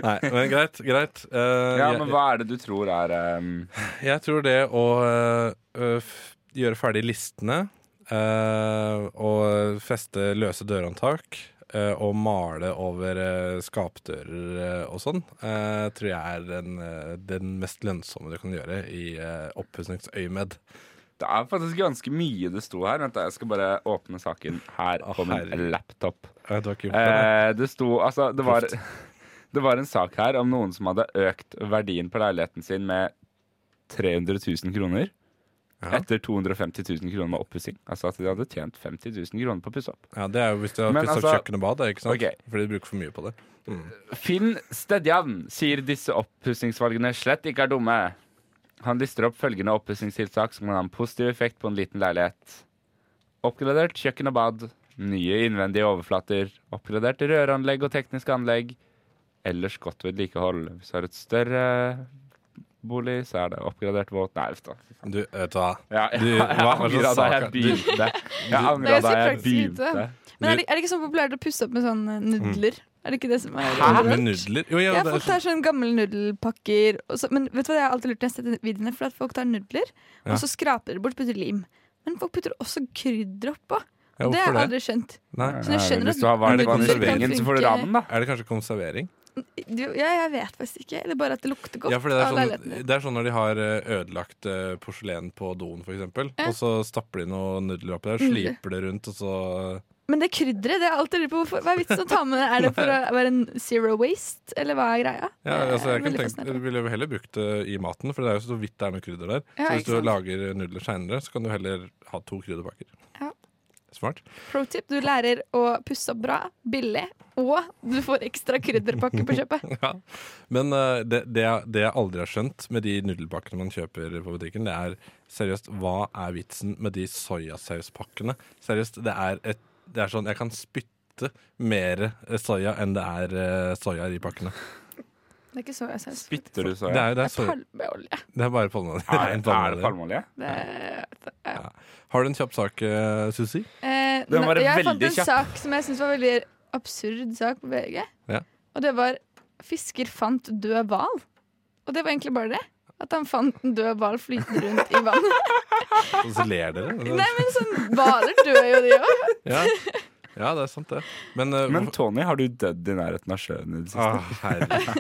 Nei, men greit. greit Eh,
Ja, men hva er det du tror er eh,
jeg, jeg tror det å eh, f- gjøre ferdig listene eh, og feste løse dørhåndtak eh, og male over eh, skapdører eh, og sånn, eh, tror jeg er den, eh, den mest lønnsomme du kan gjøre i uh, oppussingsøyemed.
Det er faktisk ganske mye det sto her. Vent, da, jeg skal bare åpne saken her
Å,
på min
herregud.
laptop.
Eh, Du har ikke gjort det? nei?
Eh, det sto Altså, det var, det var en sak her om noen som hadde økt verdien på leiligheten sin med 300 000 kroner.
Ja.
Etter 250 000 kroner med oppussing. Altså at de hadde tjent 50 000 kroner på å pusse opp.
Ja, det er jo hvis du har
Men
pusset
altså-
opp kjøkken og bad, ikke sant?
Ok.
Fordi du bruker for mye på det.
Finn Stedjan sier disse oppussingsvalgene slett ikke er dumme. Han lister opp følgende oppussingstiltak som kan ha en positiv effekt på en liten leilighet. Oppgradert kjøkken og bad, nye innvendige overflater, oppgradert røranlegg og teknisk anlegg, ellers godt vedlikehold. Hvis du har et større bolig, så er det oppgradert våt Nei, uff da.
Du, vet du hva?
Ja, jeg,
Du,
jeg,
hva- hva slags
angra da
sak
jeg
er- du-
begynte. Jeg
Nei,
angra
jeg
da
ser
jeg
faktisk
begynte.
lite. Men er det, er det ikke så populært å pusse opp med sånn eh, nudler? Er det ikke det som er
Med nudler? Jo, ja,
Ja,
det er
folk tar sånn gamle nudelpakker. Og så, men vet du hva jeg har alltid lurt når jeg har sett videoene? For at folk tar nudler,
Ja.
og så skraper det bort, putter lim. Men folk putter også krydder oppå.
Ja,
Og det
hvorfor
har jeg
det?
aldri skjønt.
Nei.
Så jeg skjønner
Hvis
at
du har varmt
nudler
vann i
kan
kylingen, så får du
funke.
ramen, da.
Er det kanskje konservering?
Du- Ja, jeg vet faktisk ikke. Eller bare at det lukter godt
Ja, for det er,
av
sånn,
leilighetene.
det er sånn når de har eh, ødelagt eh, porselen på doen, f.eks. eksempel
Ja. Mm.
Og så stapper de noe nudler oppi der,
Nudler.
sliper det rundt, og så
Men det krydderet, det har jeg alltid lurt på. Hvorfor- Hva er vitsen å ta med? Er det for å være en zero waste, eller hva er greia?
ja,
Det er
altså, jeg, kan
veldig
tenke,
fascinerende.
jeg ville jo heller brukt det i maten, for det er jo så vidt det er noe krydder der.
Ja,
så
ikke
hvis du
sant.
lager nudler seinere, så kan du heller ha to krydderpakker.
Ja.
Smart.
Pro tip, du lærer å pusse opp bra, billig, og du får ekstra krydderpakke på kjøpet.
Ja. Men eh, det, det, jeg- det jeg aldri har skjønt med de nudelpakkene man kjøper på butikken, det er seriøst hva er vitsen med de soyasauspakkene? Seriøst, det er, et, det er sånn jeg kan spytte mer eh, soya enn det er eh, soya i pakkene.
Det er ikke så jeg synes.
Spytter du så?
Det er, jo- det er,
Det er
soya,
palmeolje.
det er bare palmeolje.
Er,
Ren
er det
palmeolje.
palmeolje?
Det, det, ja.
Har du en kjapp sak, eh, Susi?
Eh,
Den var
nei, jeg fant
veldig
en
kjapp.
sak som jeg syntes var veldig absurd sak på VG.
Ja.
Og det var 'Fisker fant død hval'. Og det var egentlig bare det. At han fant en død hval flytende rundt i vannet.
Og så ler dere.
Nei, men sånn Hvaler dør jo, de òg.
Ja. ja, det er sant, det. Men, eh,
Men
hvorfor-
Tony, har du dødd i nærheten av sjøen i det siste?
Ah,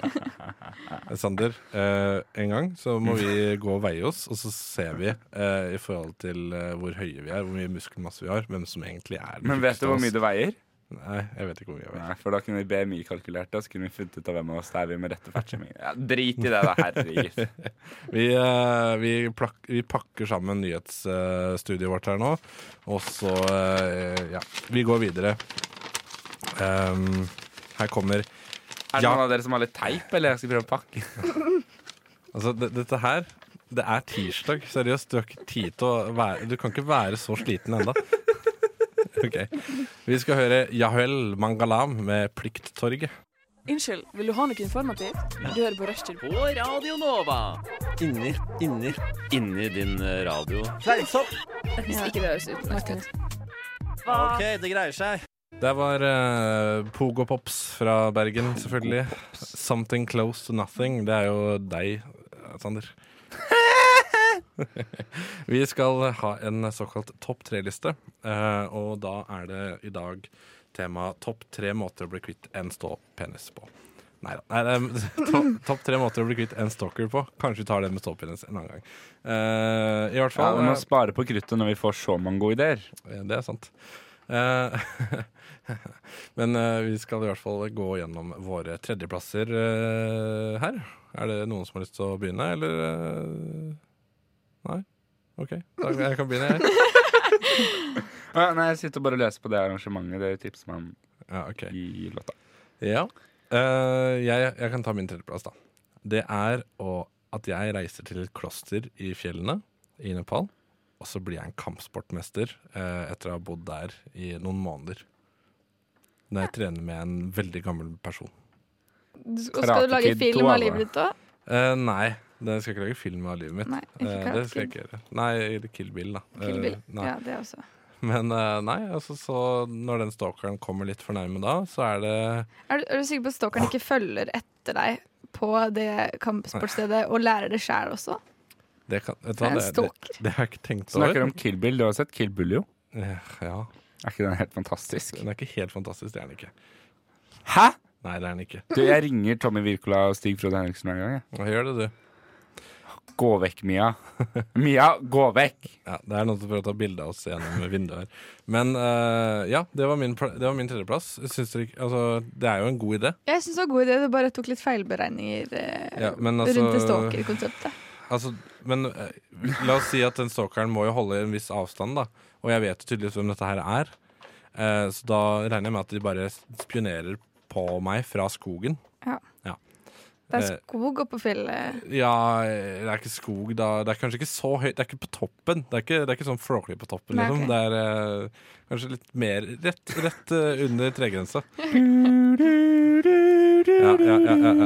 herregud. Sander, eh, en gang så må vi gå og veie oss, og så ser vi eh, i forhold til eh, hvor høye vi er, hvor mye muskelmasse vi har, hvem som egentlig er den
Men vet
tjukkeste
du hvor
av
mye
oss.
du veier?
Nei, jeg vet ikke hvor mye jeg veier.
Nei, for da kunne vi BMI-kalkulert det, så kunne vi funnet ut av hvem av oss det er vi med rette fartskjemming. Ja, drit i det, da. Herregud.
Vi, eh, vi, plak vi pakker sammen nyhetsstudiet vårt her nå, og så eh, Ja, vi går videre. Ehm, her kommer
Er det
Ja.
noen av dere som har litt teip, eller jeg skal prøve å pakke?
Altså, det, dette her Det er tirsdag. Seriøst, du har ikke tid til å være Du kan ikke være så sliten ennå. Ok. Vi skal høre Yahwel Mangalam med Plikttorget.
Unnskyld, vil du ha noe informativt? Du hører på Rushtid.
På Radio Nova. Inni, inni Inni din eh, radio. Fleisopp!
Hvis ikke det høres ut
OK, det greier seg.
Der var eh, Pogo Pops fra Bergen, selvfølgelig. Something close to nothing. Det er jo deg, Sander. Vi skal ha en såkalt topp tre-liste, eh, og da er det i dag tema topp tre måter å bli kvitt en ståpenis på. Neida. Nei da. Topp topp tre måter å bli kvitt en stalker på. Kanskje vi tar det med ståpenis en annen gang. Eh, I hvert
Ja,
fall
vi
eh,
må spare på kruttet når vi får så mange gode ideer.
ja, Det er sant. Eh, Men eh, vi skal i hvert fall gå gjennom våre tredjeplasser eh, her. Er det noen som har lyst til å begynne, eller eh, Nei? OK, da, jeg kan begynne, jeg.
Ah, nei, jeg sitter bare og leser på det arrangementet. Det tipset meg om
Ja, ok.
i låta.
ja. Eh, jeg, jeg kan ta min tredjeplass, da. Det er å, at jeg reiser til et kloster i fjellene i Nepal. Og så blir jeg en kampsportmester eh, etter å ha bodd der i noen måneder. Når jeg trener med en veldig gammel person.
Du, og skal du
Karate
lage
Kid to,
film av
eller?
livet ditt òg?
Eh, nei, det skal jeg ikke lage film av livet mitt.
Nei, ikke
Eh, det
Karate
skal jeg
Kid.
ikke gjøre. Nei, eller Kill Bill, da.
Kill Bill.
Eh, nei.
Ja, det også.
Men eh, nei, altså, så når den stalkeren kommer litt for nærme da, så er det
Er du, er du sikker på at stalkeren ikke følger etter deg på det kampsportstedet og lærer det sjæl også?
det, kan, vet du
Det er
hva,
en
det, det,
stalker.
det har jeg ikke tenkt over.
Snakker om Kill Bill. Du har sett Kill Bill, jo?
Eh, Ja,
Er ikke den helt fantastisk?
Den er ikke helt fantastisk, det er den ikke.
Hæ?!
Nei, det er den ikke.
Du, jeg ringer Tommy Wirkola og Stig Frode Henriksen en gang. jeg.
Hva gjør det, du?
Gå vekk, Mia. Mia, gå vekk!
Ja, det er noen som prøver å ta bilde av oss gjennom vinduet her. Men eh, ja, det var min, pla- det var min tredjeplass. Syns dere ikke Altså, det er jo en god idé.
Jeg syns det var en god idé, du bare tok litt feilberegninger eh,
Ja, men altså-
rundt det stalker-konseptet.
Altså, men eh, la oss si at den stalkeren må jo holde en viss avstand, da. Og jeg vet jo tydeligvis hvem dette her er. Eh, så da regner jeg med at de bare spionerer på meg fra skogen.
Det er
Eh,
skog oppå fjellet.
Ja, eh, det er ikke skog, da. Det er kanskje ikke så høyt. Det er ikke på toppen. Det er ikke, det er ikke sånn Flåklypa på toppen,
Nei,
liksom.
ok.
Det er eh, kanskje litt mer Rett, rett eh, under tregrensa. Ja, ja, ja, ja, ja.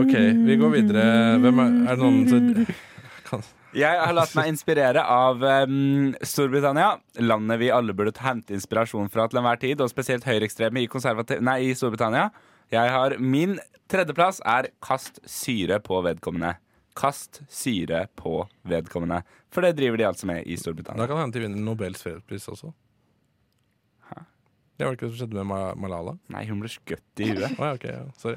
OK, vi går videre. Hvem er, er det noen som kan,
Jeg har latt meg inspirere av em, Storbritannia, landet vi alle burde hente inspirasjon fra til enhver tid, og spesielt høyreekstreme i, konservati- nei, i Storbritannia. Jeg har Min tredjeplass er kast syre på vedkommende. Kast syre på vedkommende. For det driver de altså med i
Da
Storbritannia.
kan det hende de vinner Nobels fredspris også. Det var det ikke det som skjedde med Ma- Malala?
Nei, hun ble skutt i huet.
Å ja, ok, ja. Sorry.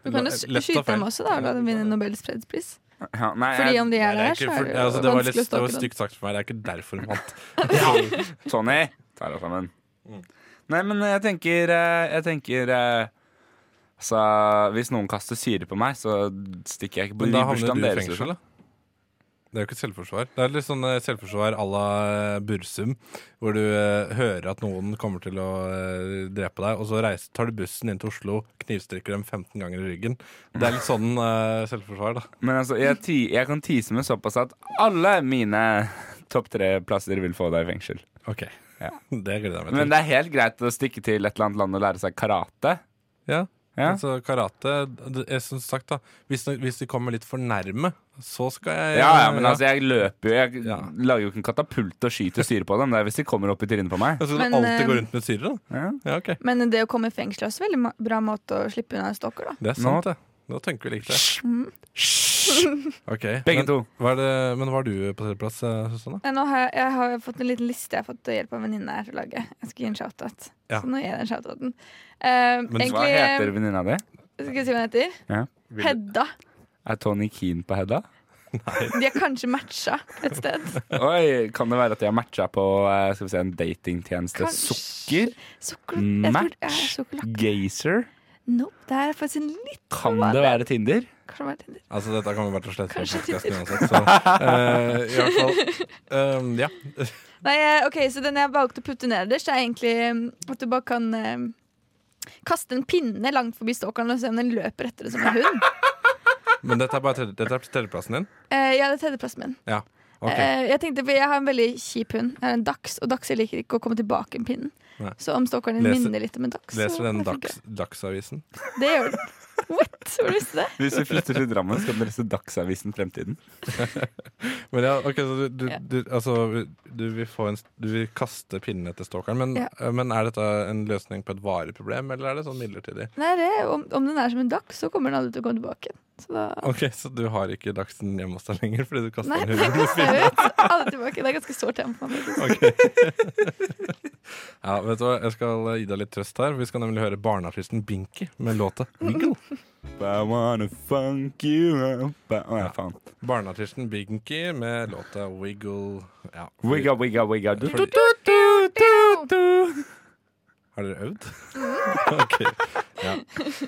Du kan jo
Lett
s-
av
skyte
feil.
dem også, da, og la dem vinne Nobels fredspris.
Ja, nei,
Fordi om de
Nei,
er
det,
her,
er
så
ikke,
er
for,
det
altså, det var litt det var
vanskelig å stoppe dem.
stygt sagt for meg. Det er ikke derfor hun vant.
Tony tar oss sammen.
Mm.
Nei, men jeg tenker eh, Jeg tenker eh, Altså, hvis noen kaster syre på meg, så stikker jeg ikke på
Men da havner
bursdagen
du i
deres,
fengsel,
liksom.
da. Det er jo ikke et selvforsvar. Det er litt sånn eh, selvforsvar à la eh, Bursum, hvor du eh, hører at noen kommer til å eh, drepe deg, og så reiser, tar du bussen inn til Oslo, knivstikker dem 15 ganger i ryggen. Det er litt sånn eh, selvforsvar, da.
Men altså, jeg, ti, jeg kan tease med såpass at alle mine topp tre-plasser vil få deg i fengsel.
Ok, Det gleder jeg meg til.
Men det er helt greit å stikke til et eller annet land og lære seg karate.
Ja.
Ja.
Altså karate det- jeg, Som sagt, da hvis, de- hvis de kommer litt for nærme, så skal jeg
Ja, ja, men altså, jeg løper jo Jeg
Ja.
lager jo ikke en katapult og skyter syre på dem. Det er hvis de kommer opp i trynet på meg.
Jeg skal
Men,
alltid gå
eh,
rundt med syre, da?
Ja.
Ja, ok.
Men det å komme i fengsel er også veldig ma- bra måte å slippe unna en stalker, da.
Det er sant, det. Da tenker vi likt det.
Mm.
Ok,
Begge
men,
to.
Hva er det, men var du på tredjeplass, eh, Susanne?
Nei, Nå har jeg, jeg har fått en liten liste jeg har fått hjelp av en venninne her til å lage. Jeg skal gi en shoutout.
Ja.
Så nå gir jeg den shoutouten. Eh,
Men
egentlig,
Hva heter venninna di?
Skal jeg si hva hun heter?
Ja.
Hedda.
Er Tony Keen på Hedda?
De er kanskje matcha et sted.
Oi, kan det være at de har matcha på eh, skal vi se, en datingtjeneste?
Kanskje.
Sukker?
Sokkel... jeg tror-
Match.
ja, sokkel-
Gazer?
Nope, det her er faktisk en litt
Kan det være Tinder?
Kanskje det var Tinder.
Altså, dette kommer bare til å slette på
Kanskje
podcasten uansett, så eh, i hvert fall um, Ja.
Nei, eh, ok, så den jeg valgte å putte nederst, er egentlig mm, at du bare kan eh, kaste en pinne langt forbi stalkeren og se om den løper etter det som en hund.
Men dette er bare tredje, dette er tredjeplassen din?
Eh, ja, det er tredjeplassen min.
Ja. Ok.
Eh, jeg tenkte, for jeg har en veldig kjip hund. Jeg har en dachs, og dachser liker ikke å komme tilbake med pinnen.
Nei.
Så om stalkeren din
Leser-
minner litt om en dachs så
Leser du den
kan det funke.
dags, Dagsavisen?
Det gjør den. What? Hvor visste du det?
Hvis vi flytter til Drammen, skal dere se Dagsavisen Fremtiden.
Men ja, ok, så du, du,
Ja.
du, altså, du, vil få en, du vil kaste pinnen etter stalkeren, men, eh,
Ja.
men er dette en løsning på et varig problem, eller er det sånn midlertidig?
Nei, det, er- om, om den er som en dachs, så kommer den aldri til å komme tilbake. igjen. Så da
Ok, Så du har ikke Dagsen hjemme hos deg lenger fordi du kasta
Nei,
den
den
hunden?
kaster jeg ut. Aldri tilbake. Det er ganske sårt tema for meg. faktisk.
Ja, vet du hva, Jeg skal eh, gi deg litt trøst her, for vi skal nemlig høre barneartisten Binky med låta Wiggle.
I wanna funk you up Å ja, faen.
Barneartisten Binky med låta Wiggle. Ja,
Wigga, wigga, wigga. Du, du,
Fordi-
du, du, du, du.
Har dere øvd? ok. Ja.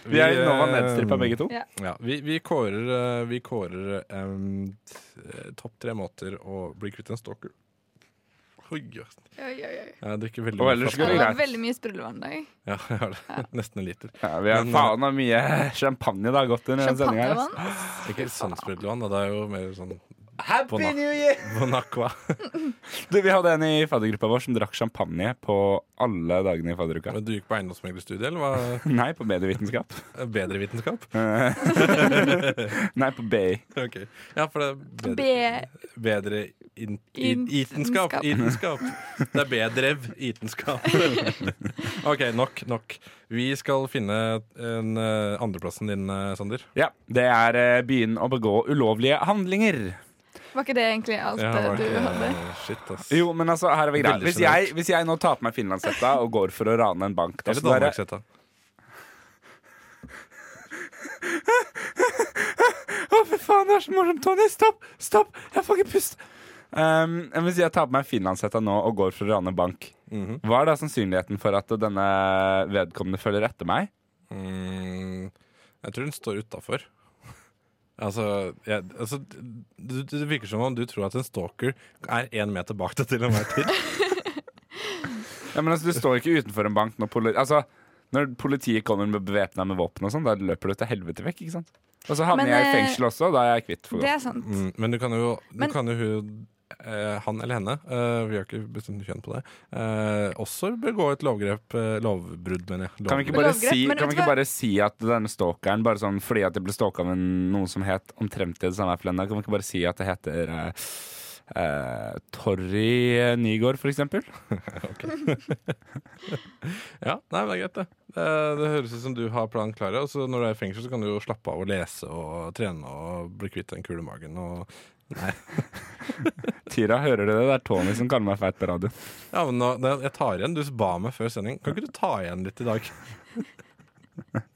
Vi er nå
eh,
var nedstrippa begge to.
Ja, vi, vi kårer, eh, vi kårer em, t- eh, topp tre måter å bli kvitt en stalker. Oi, jøss.
Oi, oi, oi.
jeg drikker veldig
Og
mye
ellers
kaffe.
går det
Det var
greit.
veldig mye sprudlevann i dag.
Ja, jeg har det. Nesten en liter.
Ja, vi har
Men-
faen meg mye champagne det har gått under denne sendinga.
Champagnevann.
Ikke sånn sprudlevann, da. Det er jo mer sånn
Happy
Bon-
New Year!
Bon Aqua.
Du, Vi hadde en i faddergruppa vår som drakk champagne på alle dagene i fadderuka.
Men du gikk på eiendomsmeglerstudiet, eller hva?
Nei, på medievitenskap.
Bedre vitenskap?
Nei, på BI.
Ok. Ja, for det er
B...
bedre, bedre in, in, itenskap.
Itenskap.
Itenskap. Det er bedrev itenskap. OK, nok, nok. Vi skal finne en, eh, andreplassen din, eh, Sander.
Ja, det er eh, begynn å begå ulovlige handlinger.
Var ikke det egentlig alt
Ja,
eh,
var
du
ikke-
hadde?
Shit, ass.
Jo, men altså, her er vi greit.
Veldig
Hvis
generelt.
jeg, hvis jeg nå tar på meg finlandshetta og går for å rane en bank da
Eller
skal dere-
Danmarkshetta.
Å, fy faen, det er så morsomt, Tony! Stopp! Stopp! Jeg får ikke puste! Um, men hvis jeg tar på meg finlandshetta nå og går for å rane en bank,
Mhm.
hva er da sannsynligheten for at denne vedkommende følger etter meg?
Mm, jeg tror hun står utafor. Altså, jeg, altså du, du, Det virker som om du tror at en stalker er én meter bak deg til enhver tid.
Ja, men altså, Du står ikke utenfor en bank når, poli altså, når politiet kommer med bevæpna med våpen og sånn. Da løper du til helvete vekk. ikke sant? Og så havner
Men,
jeg i
eh,
fengsel også, da er jeg kvitt for godt.
Det er sant.
Mm, men du kan jo, du
Men-
kan jo hun, eh, han eller henne, eh, vi har ikke bestemt kjønn på det, eh, også begå et lovgrep, eh, lovbrudd, mener jeg.
Kan vi
Lovbrudd.
ikke bare
Lovgrep,
si,
men
kan
vet
vi
du
ikke
hva?
bare si at denne stalkeren Bare sånn fordi at jeg ble stalka av en, noen som het omtrent det samme her for denne, kan vi ikke bare si at det heter eh, eh, Torry Nygaard, for eksempel.
Ja, nei, men det er greit, det. Det, det høres ut som du har planen klar. Og så når du er i fengsel, så kan du jo slappe av og lese og trene og bli kvitt den kule magen. Og
Tyra, hører du det? Det er Tony som kaller meg feit på radio.
ja, men nå, det, jeg tar igjen. Du ba meg før sending. Kan ikke du ta igjen litt i dag?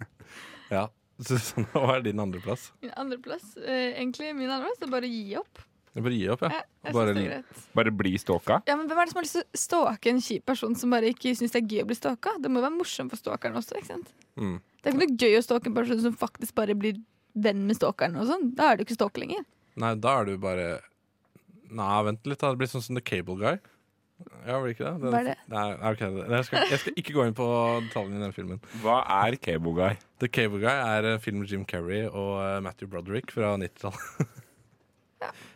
ja. Susanne, hva er din andreplass?
Min andreplass eh, egentlig min andreplass er bare å gi opp.
Jeg bare gir opp, jeg.
Jeg, jeg
Bare
synes det er
li-
greit.
Bare bli stalka.
Ja, men Hvem er det som har lyst til å stalke en kjip person som bare ikke syns det er gøy å bli stalka? Det må jo være morsomt for stalkeren også. ikke sant?
Mm.
Det er ikke noe gøy å stalke en person som faktisk bare blir venn med stalkeren. og sånn. Da er det jo ikke stalk lenger.
Nei, da er du bare Nei, vent litt. da. Det blir sånn som The Cable Guy. Ja, blir det ikke det? Den-
Hva er det?
Nei, ok, jeg, skal, jeg skal ikke gå inn på detaljene i den filmen.
Hva er Cable Guy?
The Cable Guy er en film med Jim Carrey og eh, Matthew Broderick fra 90-tallet.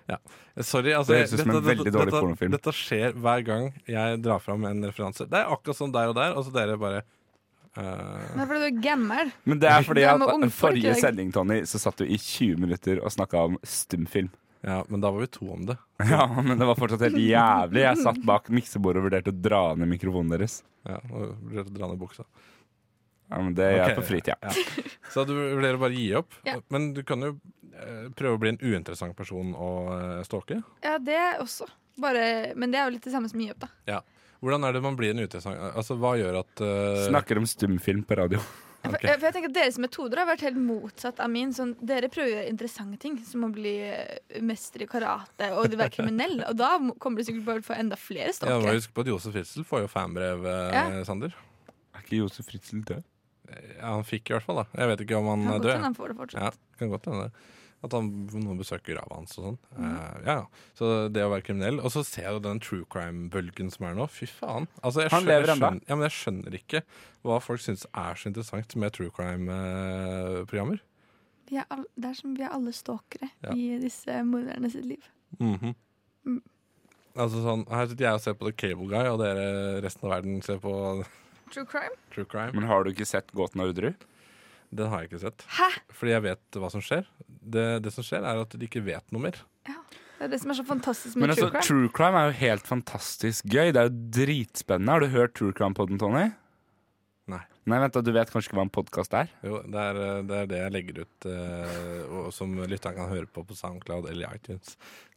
ja. Sorry, altså
Det høres ut som en veldig dårlig
dette,
pornofilm.
Dette skjer hver gang jeg drar fram en referanse. Det er akkurat sånn der og der, og så dere bare eh,
Nei, for du er gammel.
Men det er fordi
Det er
at
med ungfolk i
forrige
dag.
sending, Tony, så satt du i 20 minutter og snakka om stumfilm.
Ja, men da var vi to om det.
Ja, men det var fortsatt helt jævlig. Jeg satt bak miksebordet og vurderte å dra ned mikrofonen deres.
Ja, nå blir det å dra ned buksa.
Ja, men det gjør jeg
Ok.
på fritida.
Så du vurderer å bare gi opp.
Ja.
Men du kan jo eh, prøve å bli en uinteressant person å eh, stalke.
Ja, det også. Bare, men det er jo litt det samme som å gi opp, da.
Hvordan er det man blir en uinteressant Altså, hva gjør at eh,
Snakker om stumfilm på radio.
For,
Ok.
jeg, for jeg tenker at Deres metoder har vært helt motsatt av min. Sånn, dere prøver å gjøre interessante ting, som å bli eh, mester i karate og det å være kriminell. Og da må- kommer du sikkert bare til å få enda flere
Ja, du må
stalkere.
huske på at Josef Fritzel får jo fanbrev, eh,
Ja.
Sander.
Er ikke Josef Fritzel død?
Ja, han fikk i hvert fall, da. Jeg vet ikke om han
Kan
sånn er
godt hende
død.
han får det fortsatt.
Ja, kan godt hende det. At han noen besøker grava hans og sånn.
Mhm.
Eh, ja, ja. Så det å være kriminell. Og så ser jeg jo den true crime-bølgen som er nå. Fy faen. Altså, jeg
Han
skjø-
lever
jeg
ennå.
skjønner- Ja, men jeg skjønner ikke hva folk syns er så interessant med true eh, crime-programmer.
Vi er all, det er som vi er alle stalkere
Ja.
i disse morderne sitt liv. Mm.
Mhm. Altså sånn, Her sitter jeg og ser på The Cable Guy, og dere resten av verden ser på
True crime?
true crime.
Men har du ikke sett Gåten av Rudderud?
Den har jeg ikke sett.
Hæ?
Fordi jeg vet hva som skjer. Det, det som skjer, er at de ikke vet noe mer.
Det er det som er så fantastisk med
Men altså,
true crime.
True Crime er jo helt fantastisk gøy. Det er jo dritspennende. Har du hørt True Crime-podden, Tony?
Nei.
Nei, vent da, Du vet kanskje ikke hva en podkast er?
Jo, det er eh, det, er det jeg legger ut, eh, og som lytteren kan høre på på SoundCloud eller i iTunes.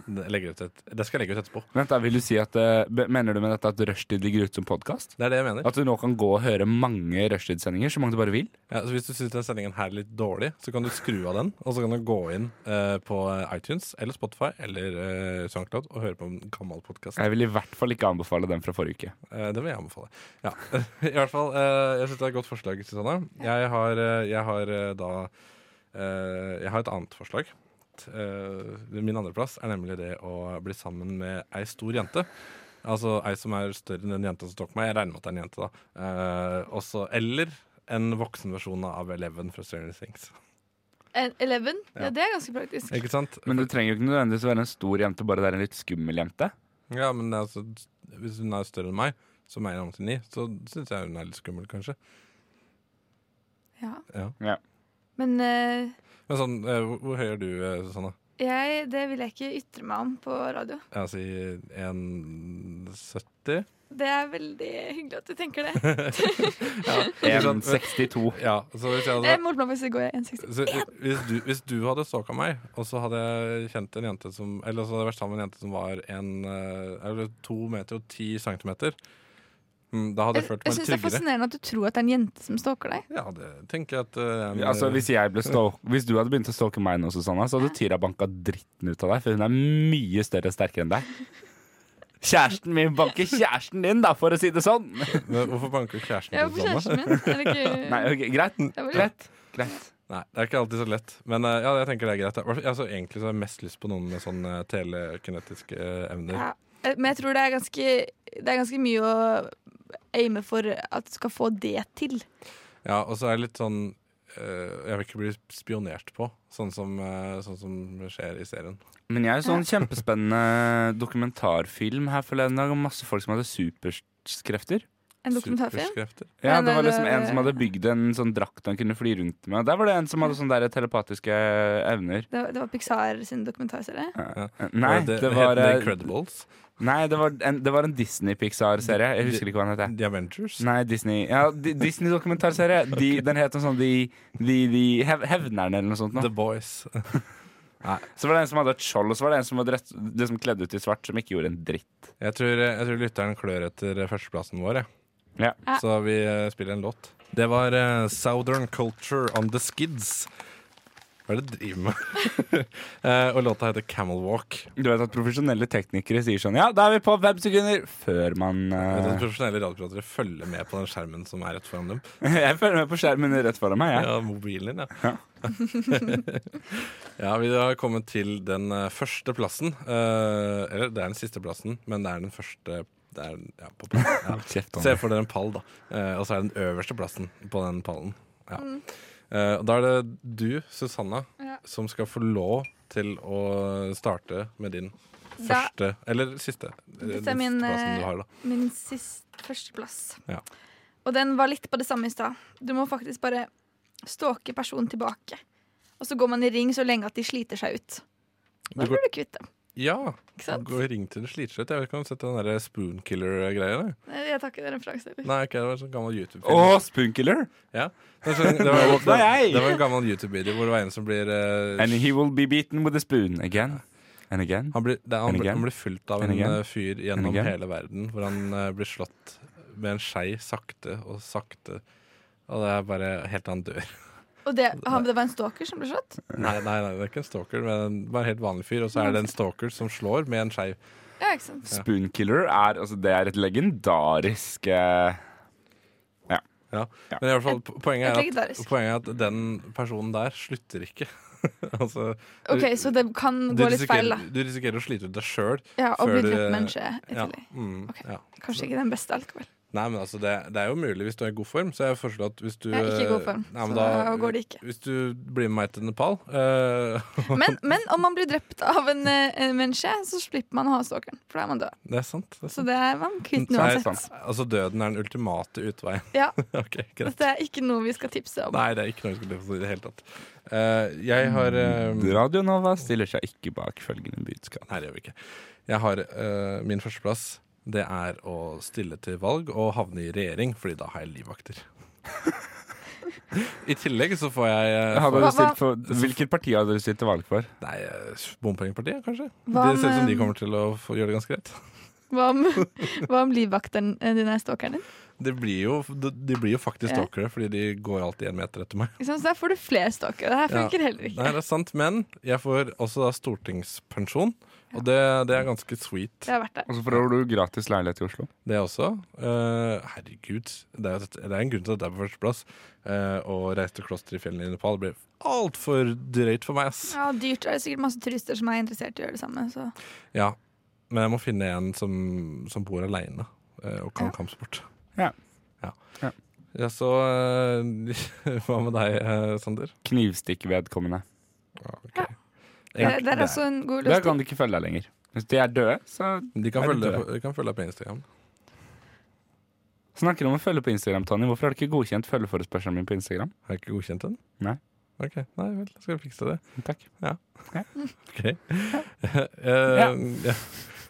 Det, legger ut et, det skal jeg legge ut etterpå.
Vent da, vil du si at, eh, be- Mener du med dette at Rushtid ligger ute som podkast?
Det er det jeg mener.
At du nå kan gå og høre mange Rushtid-sendinger, så mange du bare vil?
Ja, så hvis du syns denne sendingen her er litt dårlig, så kan du skru av den, og så kan du gå inn eh, på iTunes eller Spotify eller eh, SoundCloud og høre på en gammel podkast.
Jeg vil i hvert fall ikke anbefale den fra forrige uke.
Eh, det vil jeg anbefale. Ja. I hvert fall, eh, jeg syns det er et godt forslag, Susanne. Jeg har, eh, jeg har eh, da eh, Jeg har et annet forslag. T- Eh, min andreplass er nemlig det å bli sammen med ei stor jente. Altså ei som er større enn den jenta som tok meg. Jeg regner med at det er en jente, da. Eh, også, eller en voksen versjon av Eleven fra Stranger Things.
En- Eleven? Ja.
Ja.
det er ganske praktisk.
Ikke sant?
Men det trenger jo ikke nødvendigvis å være en stor jente, bare det er en litt skummel jente.
Ja, men altså, hvis hun er større enn meg, som er 1,89, så syns jeg hun er litt skummel, kanskje.
Ja.
Ja.
Ja.
Men eh,
Men sånn, eh, hvor, hvor høy er du, eh, Susanne?
jeg, det vil jeg ikke ytre meg om på radio.
Jeg sier 1,70.
Det er veldig hyggelig at du tenker det.
sånn-
1,62.
Ja, så hvis jeg
Jeg
hadde
målte meg faktisk i går, jeg er 1,60.
så hvis, du, hvis du hadde stalka meg, og så hadde jeg kjent en jente som Eller så hadde jeg vært sammen med en jente som var en, eh, eller to meter og ti centimeter mm, Da hadde
Jeg,
jeg følt
jeg
meg
syns det er
tryggere.
fascinerende at du tror at det er en jente som stalker deg.
Ja, det tenker jeg at eh, en,
Altså, hvis, jeg ble stalk, hvis du hadde begynt å stalke meg nå, Susanna, så hadde Tyra banka dritten ut av deg. For hun er mye større og sterkere enn deg. Kjæresten min banker kjæresten din, da, for å si det sånn!
Men Hvorfor banker kjæresten
Ja,
til
hvorfor
Susanne?
kjæresten min? Er det ikke
Nei, ok, greit.
Det er vel-
Greit. greit.
Nei, det er ikke alltid så lett. Men eh, ja, jeg tenker det er greit. Jeg, altså, egentlig så har jeg mest lyst på noen med sånn eh, telekinetiske eh, evner.
Ja. Eh, Men jeg tror det er ganske, det er ganske mye å aime for at du skal få det til.
Ja, og så er det litt sånn eh, Jeg vil ikke bli spionert på, sånn som, eh, sånn som skjer i serien.
Men jeg er jo sånn kjempespennende dokumentarfilm her forleden dag om masse folk som hadde superskrefter.
En dokumentarfilm?
Superkrefter.
Ja,
Men
det var
er det-
liksom en som hadde bygd en sånn drakt han kunne fly rundt med. Der var det en som hadde sånne der telepatiske eh, evner. Eh,
Det var, det var Pixar sin dokumentarserie.
Nei,
det,
det var,
het The
eh,
Incredibles.
Nei, det var en, det var en Disney-Pixar-serie. Jeg husker ikke hva den heter.
The Avengers.
Nei, Disney Ja, Di- Disney-dokumentarserie. De, den het noe sånn De, de, de hev, Hevnerne eller noe sånt.
The
Nå.
Boys.
Så var det en som hadde et skjold, og så var det en som var dress, liksom kledd ut i svart, som ikke gjorde en dritt.
Jeg tror, eh, jeg tror lytteren klør etter eh, førsteplassen vår. Jeg.
Ja.
Så vi eh, spiller en låt. Det var eh, Southern Culture on the Skids. Hva er det du driver med? Eh, og låta heter Camel Walk.
Du vet at profesjonelle teknikere sier sånn Ja, da er vi på fem sekunder! Før man
Jeg vet at
eh,
profesjonelle radiopratere følger med på den skjermen som er rett foran dem.
Jeg følger med på skjermen rett foran meg, jeg.
Ja, mobilen din, ja. ja, vi har kommet til den eh, første plassen. Eh, eller det er den siste plassen, men det er den første det er, den- ja, på plassen. Ja.
Kjeft,
Se
Anne.
for dere en pall, da. Eh, og så er det den øverste plassen på den pallen. Ja. Eh, og da er det du, Susanna,
Mm. Ja.
som skal få lov til å starte med din
Da
første Eller siste. eh,
Dette er
den
min,
siste plassen
eh,
du har, da.
min sist førsteplass.
Ja.
Og den var litt på det samme i stad. Du må faktisk bare stalke personen tilbake. Og så går man i ring så lenge at de sliter seg ut. Da
Du går-
blir du kvitt dem.
Ja!
Ikke sant?
Gå og ring til du sliter ut. Jeg vet ikke om du har sett den der Spoonkiller-greia? eller?
Nei, Jeg tar ikke den referansen. heller.
Nei, ikke det var en sånn gammel YouTube-film.
Å, Spoonkiller!
Det, var sånn, det,
Nå
var,
våkna jeg!
det var en gammel YouTube-video hvor det var en som blir eh,
And he will be beaten with a spoon again and again.
Han blir, det, er-
And
han, blir,
again.
han blir fulgt av
And
en
again.
eh, fyr gjennom
again.
hele verden, hvor han eh, blir slått med en skei sakte og sakte. Og det er bare helt til han dør.
Og det, han, det var en stalker som ble slått?
Nei, nei, nei, det er ikke en stalker, men en- bare en helt vanlig fyr. Og så er det en stalker som slår med en skei.
Ja, ikke sant?
Spoonkiller er, altså, det er et legendarisk eh,
Men i hvert fall, po- poenget
Et
er, at,
legendarisk.
poenget er at den personen der slutter ikke. altså,
OK, så det kan
du,
gå litt feil, da.
risikerer, du risikerer å slite ut deg sjøl.
Ja, Og
før
bli
du-
drept med en skje. i
Ja,
tillegg.
mm,
Ok.
ja.
Kanskje ikke den beste allikevel.
Nei, men altså, det, det er jo mulig hvis du er i god form. Så jeg foreslår at hvis du
Jeg er ikke i god form,
Nei, men
så da går det ikke.
Hvis du blir med meg til Nepal eh,
Men, men om man blir drept av en, eh, en menneske, så slipper man å ha stalkeren. For da er man død.
Det er sant. Det er
Så
sant.
det er man
Så
kvitt den
er det
uansett.
sant.
Altså, døden er den ultimate utveien.
Ja,
ok, greit.
Dette er ikke noe vi skal tipse om.
Nei, det er ikke noe vi skal leve i det hele tatt. Eh, jeg har eh,
Radio Nova stiller seg ikke bak følgende budskap.
Nei, det gjør vi ikke. Jeg har eh, min førsteplass. Det er å stille til valg og havne i regjering, fordi da har jeg livvakter. I tillegg så får jeg eh,
Hadde du
Hva-
stilt for, hvilket parti hadde du stilt til valg for?
Nei, eh, bompengepartiet, kanskje?
Hva
det ser ut som de
med-
kommer til å få gjøre det ganske greit.
Hva om, hva om livvakteren eh, din er stalkeren din?
Det blir jo, de de blir jo faktisk
Ja.
stalkere, fordi de går alltid én meter etter meg.
Ikke sant? Så der får du flere stalkere. Det her
Ja.
funker heller
Nei,
ikke.
det er sant, Men jeg får også da stortingspensjon, og det, det er ganske sweet,
Det har vært det.
Og så får du gratis leilighet i Oslo.
det også. Eh, herregud, det er, det er en grunn til at det er på førsteplass. Uh, å reise til klosteret i fjellene i Nepal blir altfor drøyt for meg, ass.
Ja, dyrt. Det er sikkert masse turister som er interessert i å gjøre det samme. Så.
Ja, Men jeg må finne en som, som bor aleine og kan
Ja.
kampsport.
Ja.
Ja,
Ja.
Ja, så eh, hva med deg, eh, Sander?
Knivstikke vedkommende.
Ja. Det,
Egentlig,
det er
det
altså-
også en god
Da kan
løsning.
de ikke følge deg lenger. Hvis de er døde, så
De kan
Er det
følge, deg
det?
på- de kan følge deg på Instagram.
snakker du om å følge på Instagram, Tonje. Hvorfor har du ikke godkjent følgeforespørselen min på Instagram?
Har jeg ikke godkjent den?
Nei.
Ok, nei vel, skal vi fikse det.
Takk.
Ok. Eh, ja. Nei, altså,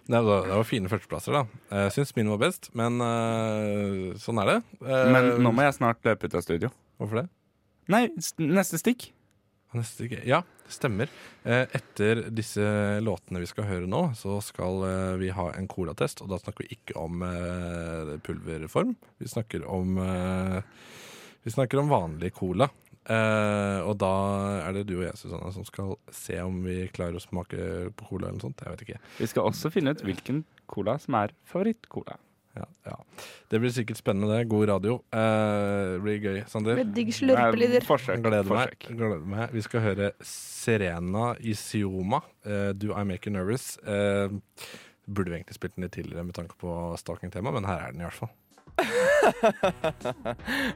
det var- det var fine førsteplasser, da. Jeg syns min var best, men eh, sånn er det. Eh,
Men nå må jeg snart løpe ut av studio.
Hvorfor det?
Nei, s- neste stikk.
Neste uke. Ja, det stemmer. Eh, etter disse låtene vi skal høre nå, så skal eh, vi ha en colatest, og da snakker vi ikke om eh, pulverform. Vi snakker om eh, Vi snakker om vanlig cola. Eh, og da er det du og jeg, Susanne, som skal se om vi klarer å smake på cola eller noe sånt. Jeg vet ikke.
Vi skal også finne ut hvilken cola som er favorittcola.
Ja, ja. Det blir sikkert spennende, det. God radio. Eh, det blir gøy, Sander.
Med digg
Nei,
slurpelyder.
Forsøk.
Jeg Gleder meg.
forsøk.
Jeg Gleder meg. Vi skal høre Serena Isioma, eh, 'Do I Make You Nervous'. Eh, burde vi egentlig spilt den litt tidligere med tanke på stalking-tema, men her er den i hvert fall.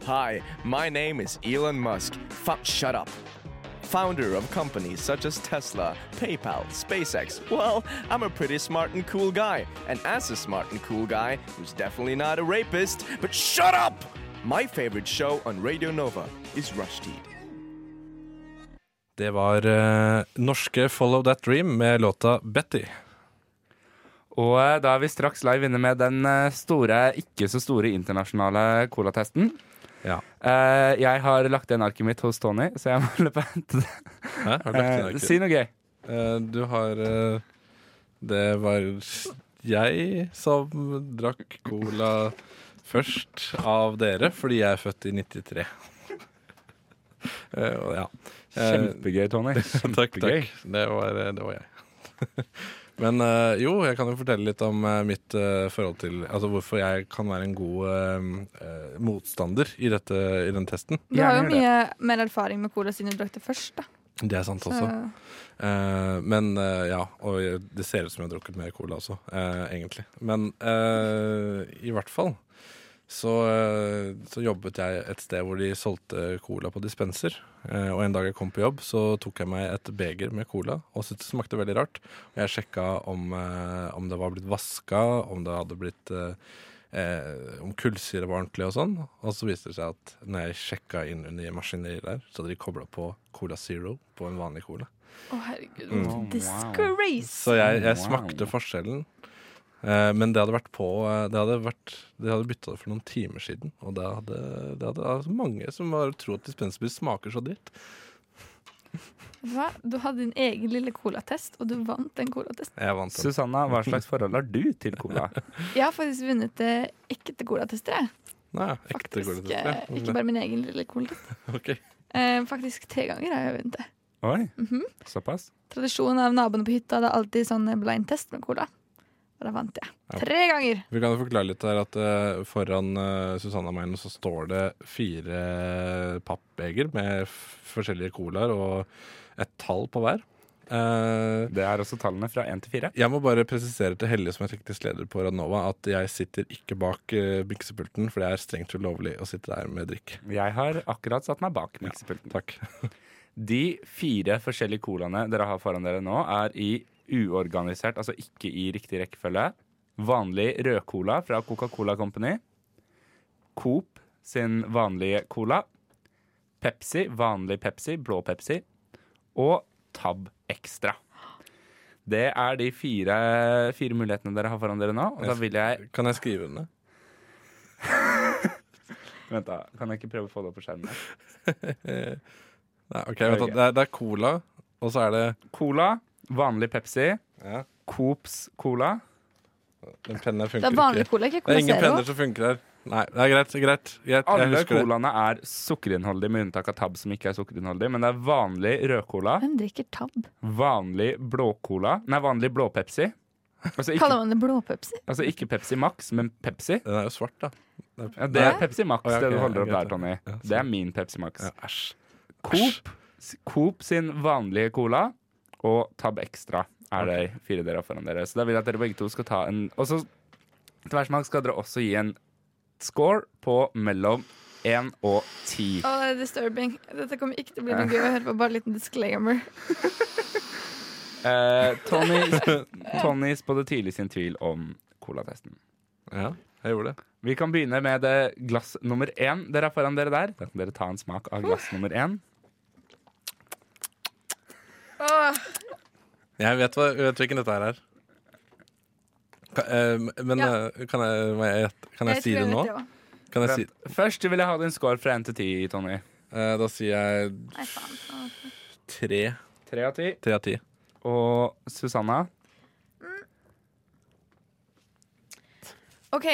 Hi, my name is Elon Musk. Fuck, shut up. Founder of companies such as Tesla, PayPal, SpaceX. Well, I'm a pretty smart and cool guy. And as a smart and cool guy, who's definitely not a rapist, but shut up! My favorite show on Radio Nova is Rushdie.
Det var eh, norske Follow That Dream med låta Betty.
Og eh, da er vi straks live inne med den eh, store, ikke så store internasjonale colatesten.
Ja.
Eh, jeg har lagt igjen arket mitt hos Tony, så jeg må løpe og hente det.
Hæ? Har du lagt inn
Eh,
arket?
si noe gøy.
Eh, Du har eh, Det var jeg som drakk cola først av dere, fordi jeg er født i 93. Eh, og ja. Eh,
Kjempegøy, Tony.
Takk, takk. Det var, eh, det var jeg. Men eh, jo, jeg kan jo fortelle litt om eh, mitt eh, forhold til Altså hvorfor jeg kan være en god eh, eh, motstander i, dette, i den testen.
Du har jo
Gjerne gjør
mye mer erfaring med cola siden du drakk det først. da
Det er sant også.
Så-
Eh, men eh, ja, og jeg- det ser ut som jeg har drukket mer cola også, eh, egentlig. Men eh, i hvert fall så, eh, så jobbet jeg et sted hvor de solgte cola på dispenser. Eh, og en dag jeg kom på jobb, så tok jeg meg et beger med cola og syntes det smakte veldig rart. Og jeg sjekka om, eh, om det var blitt vaska, om det hadde blitt eh, Eh, om kullsyre var ordentlig og sånn. Og så viste det seg at når jeg sjekka inn under maskineriet der, så hadde de kobla på Cola Zero på en vanlig cola.
Å, herregud.
Mm.
what a Disgrace.
Så jeg, jeg
Wow.
smakte forskjellen. Eh, men det hadde vært på eh, Det hadde, vært, det hadde bytta det for noen timer siden. Og det hadde, det hadde altså mange som bare tror at dispensbil smaker så dritt.
Hva? Du hadde din egen lille colatest, og du vant den colatesten.
Jeg vant den.
Susanna, hva slags forhold har du til cola?
Jeg har faktisk vunnet eh, ekte colatester, jeg.
Nei, ekte Mm.
Faktisk,
gulrøtter.
eh, ikke bare min egen lille colatest.
Ok.
Eh, faktisk tre ganger har jeg vunnet det.
Oi,
Mhm.
såpass?
Tradisjonen av naboene på hytta, det er alltid sånn blind test med cola. Og da vant jeg.
Ja.
Tre ganger!
Vi kan jo forklare litt her at eh, foran eh, Susanna Meinen så står det fire eh, pappbeger med f forskjellige colaer og et tall på hver. Eh,
Det er også tallene fra én til fire.
jeg må bare presisere til Helle som er teknisk leder på Radnova at jeg sitter ikke bak eh, miksepulten, for det er strengt ulovlig å sitte der med drikke.
Jeg har akkurat satt meg bak miksepulten.
Takk.
De fire forskjellige colaene dere har foran dere nå, er i uorganisert, altså ikke i riktig rekkefølge. Vanlig rødcola fra Coca-Cola Company. Coop sin vanlige cola. Pepsi, vanlig Pepsi, blå Pepsi. Og Tab Extra. Det er de fire, fire mulighetene dere har foran dere nå. Og da vil jeg
Kan jeg skrive den ned?
Vent, da. Kan jeg ikke prøve å få det opp på skjermen? her?
Nei, ok, vent da. det, er, det er cola, og så er det
Cola, vanlig Pepsi.
ja,
Coops cola.
Den pennen her
Det er
funker
vanlig
ikke.
cola, ikke
Det
cola
er ingen
zero.
penner som funker her. Nei, det er greit. greit, greit. Jeg
Alle
husker det.
colaene er sukkerinnholdig, med unntak av Tab, som ikke er sukkerinnholdig. Men det er vanlig rødcola,
Hvem drikker tab?
vanlig blåcola Nei, vanlig blåpepsi. Altså ikke,
Kaller man det blåpepsi?
altså ikke Pepsi Max, men Pepsi.
Den er jo svart, da.
Ja, det er Pepsi Max,
Å, ja, ok,
det du holder opp
greit,
der, Tony.
Ja,
Det er min Pepsi Max.
Ja, æsj.
Coop, Coop sin vanlige cola og Tab Extra er de fire dere har foran dere. Så da vil jeg at dere begge to skal ta en Og så til hver smak skal dere også gi en score på mellom 1 og 10.
Å, det er disturbing. Dette kommer ikke til å bli noe gøy å høre på. Bare en liten disclaimer.
Eh, Tony, Tony spådde tidlig sin tvil om colatesten.
Ja, jeg gjorde det.
Vi kan begynne med det glass nummer én dere har foran dere der. Da kan dere ta en smak av glass nummer én.
Åh,
Jeg vet, hva, jeg vet hvilken dette her er. Kan, eh, men
Ja.
eh, kan jeg, må jeg, gjette- kan jeg, si
tror
det nå?
vet også.
Kan jeg si,
Vent. Først vil jeg ha din score fra én til ti, Tony.
eh, da sier jeg
Nei, faen. Åh.
tre.
Tre av ti.
Tre av ti.
Og Susanna?
OK.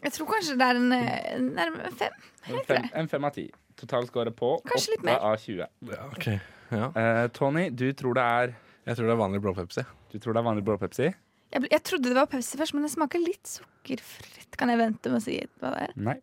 Jeg tror kanskje det er en eh, nærmere fem.
En fem, en fem av ti. Totalscore på
Kanskje litt
åtte
mer.
av 20.
Ja, ok. Ja.
Eh, Tony, du tror det er
Jeg tror det er vanlig blå Pepsi.
Du tror det er vanlig blåpepsi?
Jeg, ble, jeg trodde det var Pepsi først, men det smaker litt sukkerfritt. Kan jeg vente med å si hva det er?
Nei.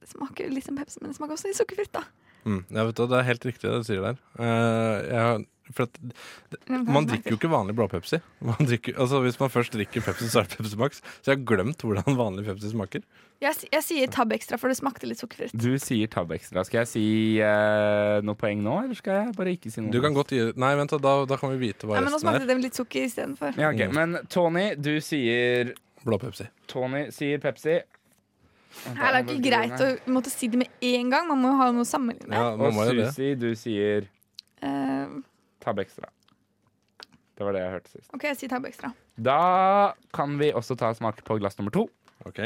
Det smaker litt som Pepsi, men det smaker også litt sukkerfritt, da.
Mm. Ja, vet du, hva, det er helt riktig det du sier der. Eh, jeg, For at man drikker jo ikke vanlig blåpepsi. Man drikker, altså hvis man først drikker Pepsi, så er det Pepsi Max. Så jeg har glemt hvordan vanlig Pepsi smaker.
Jeg, s- jeg sier tab ekstra, for det smakte litt sukkerfritt.
Du sier tab ekstra. Skal jeg si eh, noe poeng nå, eller skal jeg bare ikke si noe?
Du kan godt gi Nei, vent, da, da, da kan vi vite hva
Nei, men nå
resten
smakte
er.
det med litt sukker istedenfor.
Ja, ok. Men Tony, du sier
Blå Pepsi.
Tony sier Pepsi.
Her er det ikke greit å måtte si det med en gang. Man må jo ha noe å sammenligne.
Ja, man
Og
må jo det.
Susi, du sier
Eh,
tab ekstra. Det var det jeg hørte sist.
OK, jeg sier tab ekstra.
Da kan vi også ta smak på glass nummer to.
Ok.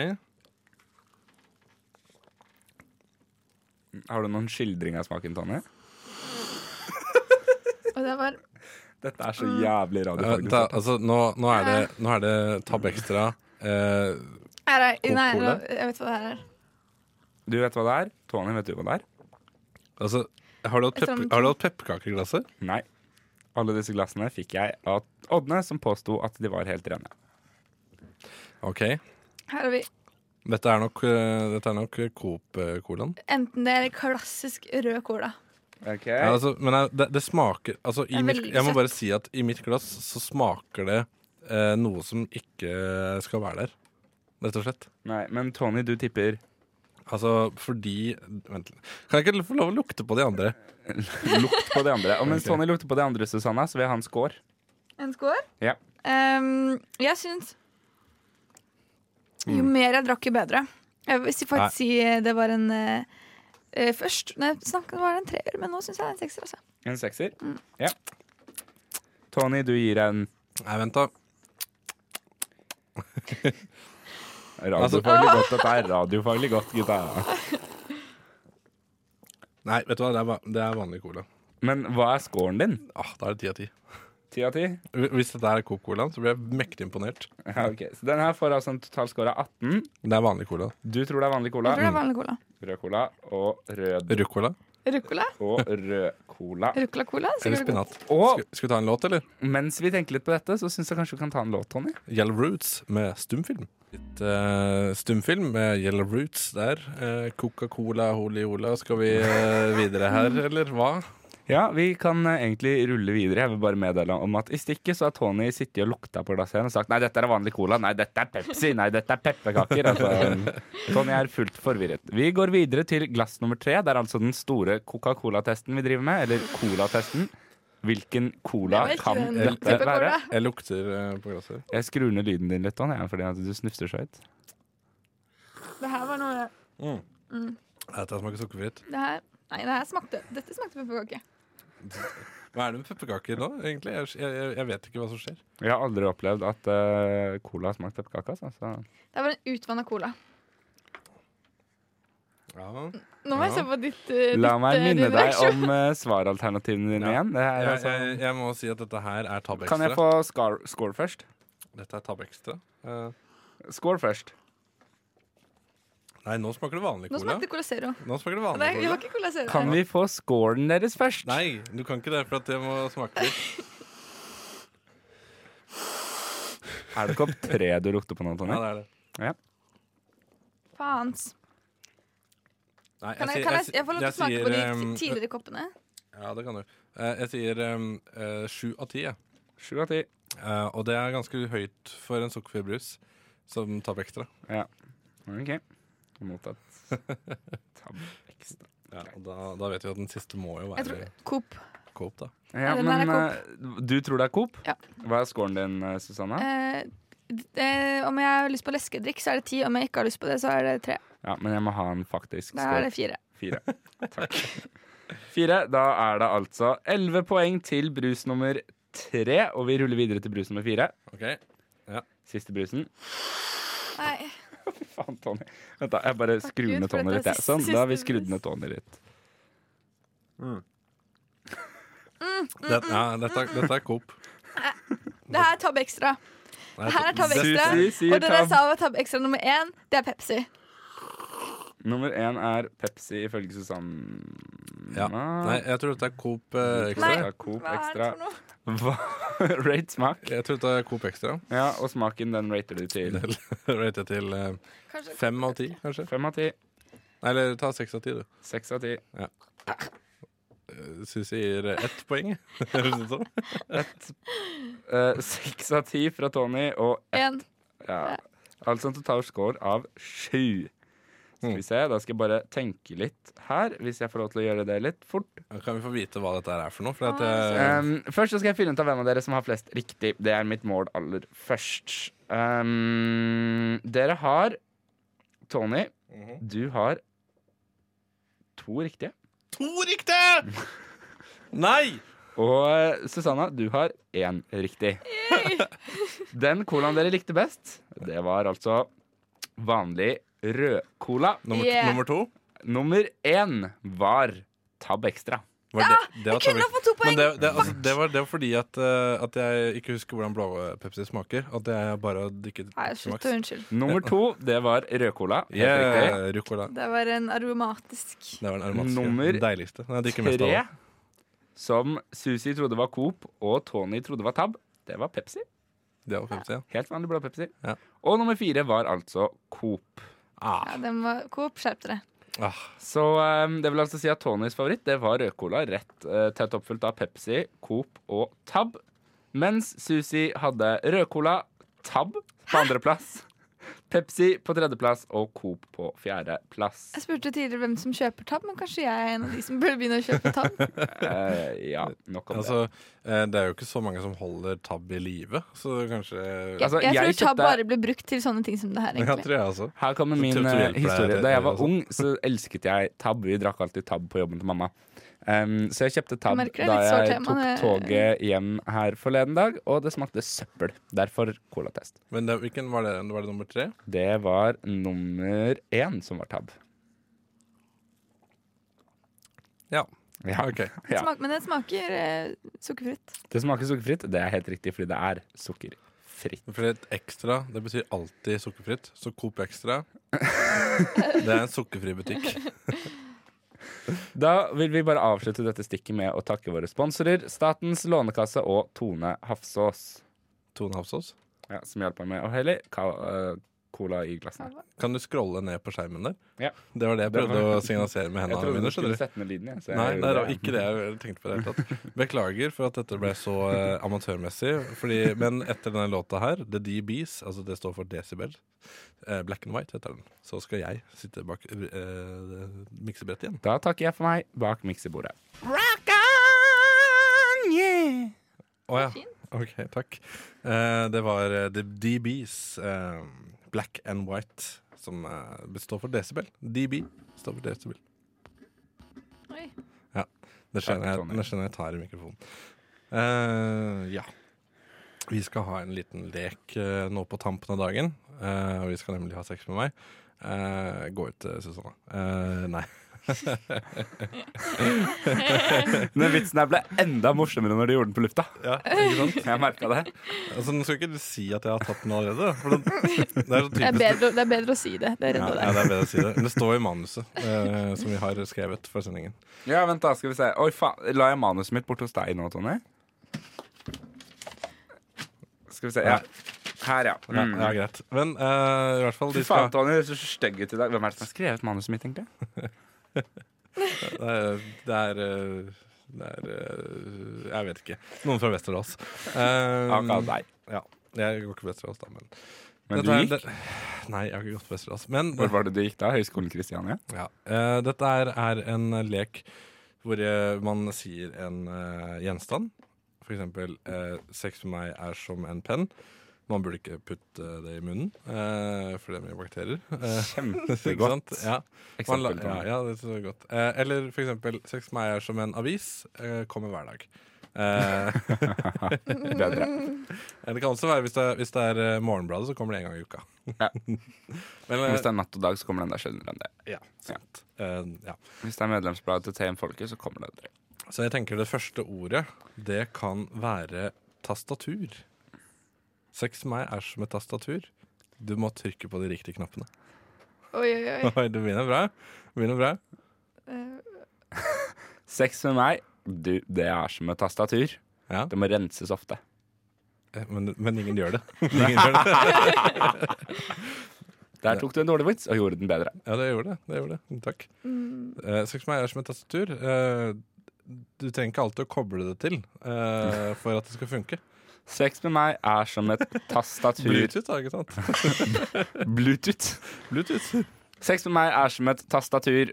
Har du noen skildring av smaken, Tony?
Og det var
Dette er så jævlig
Ja,
radiofaglig.
Mm. da, altså, nå, nå, er det, nå er det Tab Extra. Eh,
er det, Nei,
Cola?
jeg vet hva det her er.
Du vet hva det er? Tony, vet du hva det er?
altså, har du hatt
Jeg tar
pepper-
den to.
har du hatt pepperkaker i glasset?
Nei. Alle disse glassene fikk jeg av Ådne, som påsto at de var helt rene.
Ok.
Her har vi
Dette er nok, eh, dette er nok eh, Coop-colaen.
enten det eller klassisk rød cola.
Ja, altså, men jeg- det, det smaker altså,
er
i mitt,
veldig
Jeg må bare si at i mitt glass så smaker det eh, noe som ikke skal være der. Rett og slett.
Nei, men Tony, du tipper
Altså fordi Vent litt. Kan jeg ikke få lov å lukte på de andre?
lukt på de andre. Og mens
Ok.
Tony lukter på de andre, Susanna, så vil han score.
En skål?
Ja.
Ehm, jeg syns Jo mer jeg drakk, jo bedre. Jeg vil si-
Mm. Nei.
faktisk si eh, det var en eh, eh, Først når jeg snakket, var det en treer, men nå syns jeg det er en sekser. Altså.
En sekser. Ja. Tony, du gir en
Nei, vent, da. Altså-
radiofaglig godt. Dette er radiofaglig godt, gutta.
Nei, vet du hva, det er, va- det er vanlig cola.
Men hva er scoren din?
Ah, da er det ti av ti.
Ti av ti?
Hvis dette er Coop-colaen, så blir jeg mektig imponert.
Ja, ok. Så den her får altså en totalscore av 18.
Det er vanlig cola.
Du tror det er vanlig cola.
Jeg tror
Mm.
det er vanlig cola.
Rød cola og rød
Ruccola
Ruccola?
og rød cola.
Ruccola-cola?
eller
sikkert god.
spinat.
Og
Skal, skal vi ta en låt, eller?
mens vi tenker litt på dette, så syns jeg kanskje vi kan ta en låt, Tony.
Yellow Roots med stumfilm. Litt eh, stumfilm med Yellow Roots der. Eh, Coca-Cola, Holi Ola. Skal vi eh, videre her, eller hva?
Ja, vi kan eh, egentlig rulle videre. Jeg vil bare meddele om at i stikket så har Tony sittet og lukta på glasset igjen og sagt nei, dette er vanlig cola, nei, dette er Pepsi, nei, dette er pepperkaker. Altså, Tony er fullt forvirret. Vi går videre til glass nummer tre. Det er altså den store Coca-Cola-testen vi driver med, eller Cola-testen. Hvilken cola
Det var ikke
kan
den
dette
type
være?
cola.
Jeg lukter eh, på glasset.
Jeg skrur ned lyden din litt, Tony, ja, fordi at du snufser så høyt.
Det her var noe
Dette smaker sukkerfritt.
det her, Nei, det her smakte Dette smakte pepperkake.
Hva er det med pepperkaker nå, egentlig? Jeg, jeg, jeg vet ikke hva som skjer.
Jeg har aldri opplevd at eh, cola har smakt pepperkake. Altså. Så-
Det var en utvanna cola.
Ja.
Nå må jeg
Ja.
se på ditt, eh,
La
ditt,
meg
eh,
minne
din
deg
reaksjon.
om eh, svaralternativene dine
Ja.
igjen. Det er,
Jeg,
altså,
jeg,
sånn-
jeg må si at dette her er Tab
kan jeg
Extra.
få scar- score først?
Dette er Tab Extra. Eh,
Skål først.
nei, nå smaker det vanlig
Nå
cola.
smakte Cola Zero.
Nå smaker det
Nei,
vanlig
vi
cola.
har ikke Cola Zero.
Kan vi få scoren deres først?
Nei, du kan ikke det, for at det må smake litt.
Er det kopp tre du lukter på nå,
Ja,
Tony?
det er det.
Faens.
Nei,
Kan jeg,
sier-
kan jeg, jeg får lov til å
jeg
smake på de
sier,
ti-
ehm,
tidligere koppene?
Ja, det kan du. Eh, Jeg sier ehm, eh, sju av ti, jeg.
Sju av ti.
Eh, og det er ganske høyt for en sukkerfri brus som tar på ekstra.
Ok. Mottatt. Tab ekstra.
Ja, og da, da vet vi at den siste må jo
Jeg tror
være
Coop.
Coop, da.
Ja,
den
men
er
eh, du tror det er Coop?
Ja.
Hva er scoren din, eh, Susanna?
Eh, d- eh, om jeg har lyst på leskedrikk, så er det ti. Om jeg ikke har lyst på det, så er det tre.
Ja, men jeg må ha en faktisk
Da er
score.
det fire.
Fire. Takk. Fire. Da er det altså elleve poeng til brus nummer tre, og vi ruller videre til brus nummer fire.
Ok,
Siste brusen.
Nei,
Faen, Tony. Vent, da. Jeg bare skrur
Gud,
ned
for
Tony litt.
dette er
jeg. Sånn, da har vi
siste
skrudd
brus.
ned Tony litt.
det, ja, dette, er- dette er Coop.
det her er Tab Extra.
Nei,
Det her er Tab Extra.
Susi sier
Og den jeg
Tab.
sa var Tab Extra nummer én, det er Pepsi.
Nummer én er Pepsi, ifølge Susanne.
ja. Nei, jeg tror dette er Coop eh,
Nei.
Extra.
Coop
Hva er det
ekstra.
for noe?
Hva? Rate smak.
Jeg tror dette er Coop Extra.
Ja, og smaken den rater du til
Det rater jeg til eh,
Kanskje
fem av ti, kanskje.
fem av ti.
Nei, Eller ta seks av ti, du.
Seks av ti.
Syns jeg Eh, gir ett poeng. Høres det ut som.
Eh, Seks av ti fra Tony og
En.
Ja. Altså en total score av sju. Skal vi se, Da skal jeg bare tenke litt her, hvis jeg får lov til å gjøre det litt fort.
Ja, Kan vi få vite hva dette her er for noe? For at,
Ah.
eh,
Um, først så skal jeg finne ut av hvem av dere som har flest riktig. Det er mitt mål aller først. Um, dere har Tony, du har to riktige.
to riktige! Nei!
Og Susanna, du har én riktig. Den colaen dere likte best, det var altså vanlig rødcola.
Nummer,
Yeah.
nummer to.
Nummer én var Tab Extra.
Var det, det var
Jeg kunne
tablet.
ha fått to poeng!
Men det, det, altså, det, var, det var fordi at, eh, at jeg ikke husker hvordan blå eh, Pepsi smaker. At jeg bare har drikket
Nei, slutt å unnskylde.
Nummer to, det var rødcola. Helt riktig.
Yeah, rucola.
Det var en aromatisk
Det var den aromatiske.
Nummer
den deiligste. Nei, jeg drikker mest av
Tre,
det.
som Susi trodde var Coop og Tony trodde var Tab, det var Pepsi.
Det var Pepsi, ja.
Helt vanlig blå Pepsi.
Ja.
Og nummer fire var altså Coop.
Ja, den var Coop, skjerp dere.
Ah,
Så eh, det vil altså si at Tonys favoritt det var rødcola, rett eh, tett oppfylt av Pepsi, Coop og Tab. Mens Susi hadde rødcola, Tab på andreplass, Pepsi på tredjeplass og Coop på fjerdeplass.
Jeg spurte tidligere hvem som kjøper tab, men kanskje jeg er en av de som burde begynne å kjøpe tab.
Eh, ja, nok om
altså, eh, det er jo ikke så mange som holder tab i live, så kanskje
det. Altså,
jeg, tror tab
kjøpte-
bare ble brukt til sånne ting som det
Ja,
her,
altså.
egentlig.
tror jeg også.
Her kommer
Så
min
tror jeg
eh,
hjelper deg
historie.
det-
Da jeg
det
var
også.
ung, så elsket jeg tab. Vi drakk alltid tab på jobben til mamma. Um, så jeg kjøpte tab
merker det er
da
litt sårt
jeg
tema,
tok
det-
toget hjem her forleden dag, og det smakte søppel. Derfor colatest.
Men det, hvilken var det? Var det nummer tre?
Det var nummer én som var tab.
Ja.
Ja.
Ok.
Ja.
Smak, men den smaker eh, sukkerfritt.
Det smaker sukkerfritt. Det er helt riktig, fordi det er sukkerfritt.
For et ekstra, det betyr alltid sukkerfritt. Så Coop Extra Det er en sukkerfri butikk.
Da vil vi bare avslutte dette stikket med å takke våre sponsorer Statens lånekasse og Tone Hafsås,
Tone Hafsås.
ja, som hjalp meg med å helle ka- eh, cola i glassene.
Kan du scrolle ned på skjermen der?
Ja.
Det var det jeg
Det
prøvde
var-
å signalisere med
Jeg
hendene
trodde
mine.
du skulle
skjønner du?
sette ned lyden. Jeg, så jeg
Nei,
gjorde
nei, det var ikke det jeg tenkte på. i Det hele tatt. Beklager for at dette ble så eh, amatørmessig. Fordi, men etter denne låta her, The DBs, altså det står for Decibel, eh, Black and White heter den, så skal jeg sitte bak eh, miksebrettet igjen.
Da takker jeg for meg bak miksebordet.
Å ja. Ok, takk. Eh, det var eh, The DBs, eh, Black and White, som eh, står for Decibel. DB står for Decibel.
Oi.
Ja, det skjønner
Takk,
jeg,
Tonje.
det skjønner jeg tar i mikrofonen. Eh, ja. Vi skal ha en liten lek eh, nå på tampen av dagen. eh, og vi skal nemlig ha sex med meg. Eh, gå ut, eh, Susanne. Eh, nei.
Den vitsen her ble enda morsommere når du gjorde den på lufta.
Ja, ikke sant?
Jeg merket det.
Altså, nå skal ikke du si at jeg har tatt den allerede. For det, det er så
Det er,
typisk
bedre, det er bedre å si det.
Ja,
Det
ja,
redda deg.
det er bedre å si det. Men det står i manuset eh, som vi har skrevet for sendingen.
Ja, vent da, skal vi se. Oi, faen. La jeg manuset mitt bort hos deg nå, Tony? Skal vi se. Ja. Her, ja.
Ja,
Mm.
ja greit. Men eh, i hvert fall
Fy
de
faen,
skal
Tony, du ser så stygg ut i dag. Hvem er det som har skrevet manuset mitt, egentlig?
Det er, det er, eh, det er eh, Jeg vet ikke. Noen fra Vesterålen.
Akkurat
Uh,
deg.
ja. Jeg går ikke på Vesterålen, da, men
Men du
Dette er-
gikk?
det- Nei, jeg har ikke gått på Vesterålen. Men
Hvor var det du gikk da? Høgskolen Kristiania?
Ja. Eh, dette er, er en lek hvor eh, man sier en eh, gjenstand. For eksempel eh, sex med meg er som en penn. Man burde ikke putte det i munnen, eh, for det er mye bakterier. Eh, ikke sant?
Kjempegodt
Ja. Man la,
eksempel,
ja,
Tony.
ja, det er så godt. Eh, eller for eksempel sex med meg er som en avis. Eh, kommer hver dag. Eh,
Bedre.
det kan også være hvis det, er- hvis det er eh, Morgenbladet, så kommer det en gang i uka.
Ja.
Men, eh,
Hvis det er natt og dag, så kommer den der sjeldnere enn det.
ja, sant. Eh, ja.
Hvis det er medlemsbladet til TM Folket, så kommer det aldri.
Så jeg tenker det første ordet, det kan være tastatur. Sex med meg er som et tastatur. Du må trykke på de riktige knappene.
Oi, oi, oi.
Oi, det begynner bra. Det begynner bra.
Eh,
Sex med meg, du, det er som et tastatur.
Ja.
Det må renses ofte.
Eh, Men, men ingen gjør det. Ingen gjør det.
Der tok du en dårlig vits og gjorde den bedre.
Ja, det gjorde det. det, gjorde det. Takk. Eh, Sex med meg er som et tastatur. Eh, du trenger ikke alltid å koble det til eh, for at det skal funke.
Sex med meg er som et tastatur
Bluetooth, da, ikke sant?
Bluetooth.
Bluetooth.
Sex med meg er som et tastatur.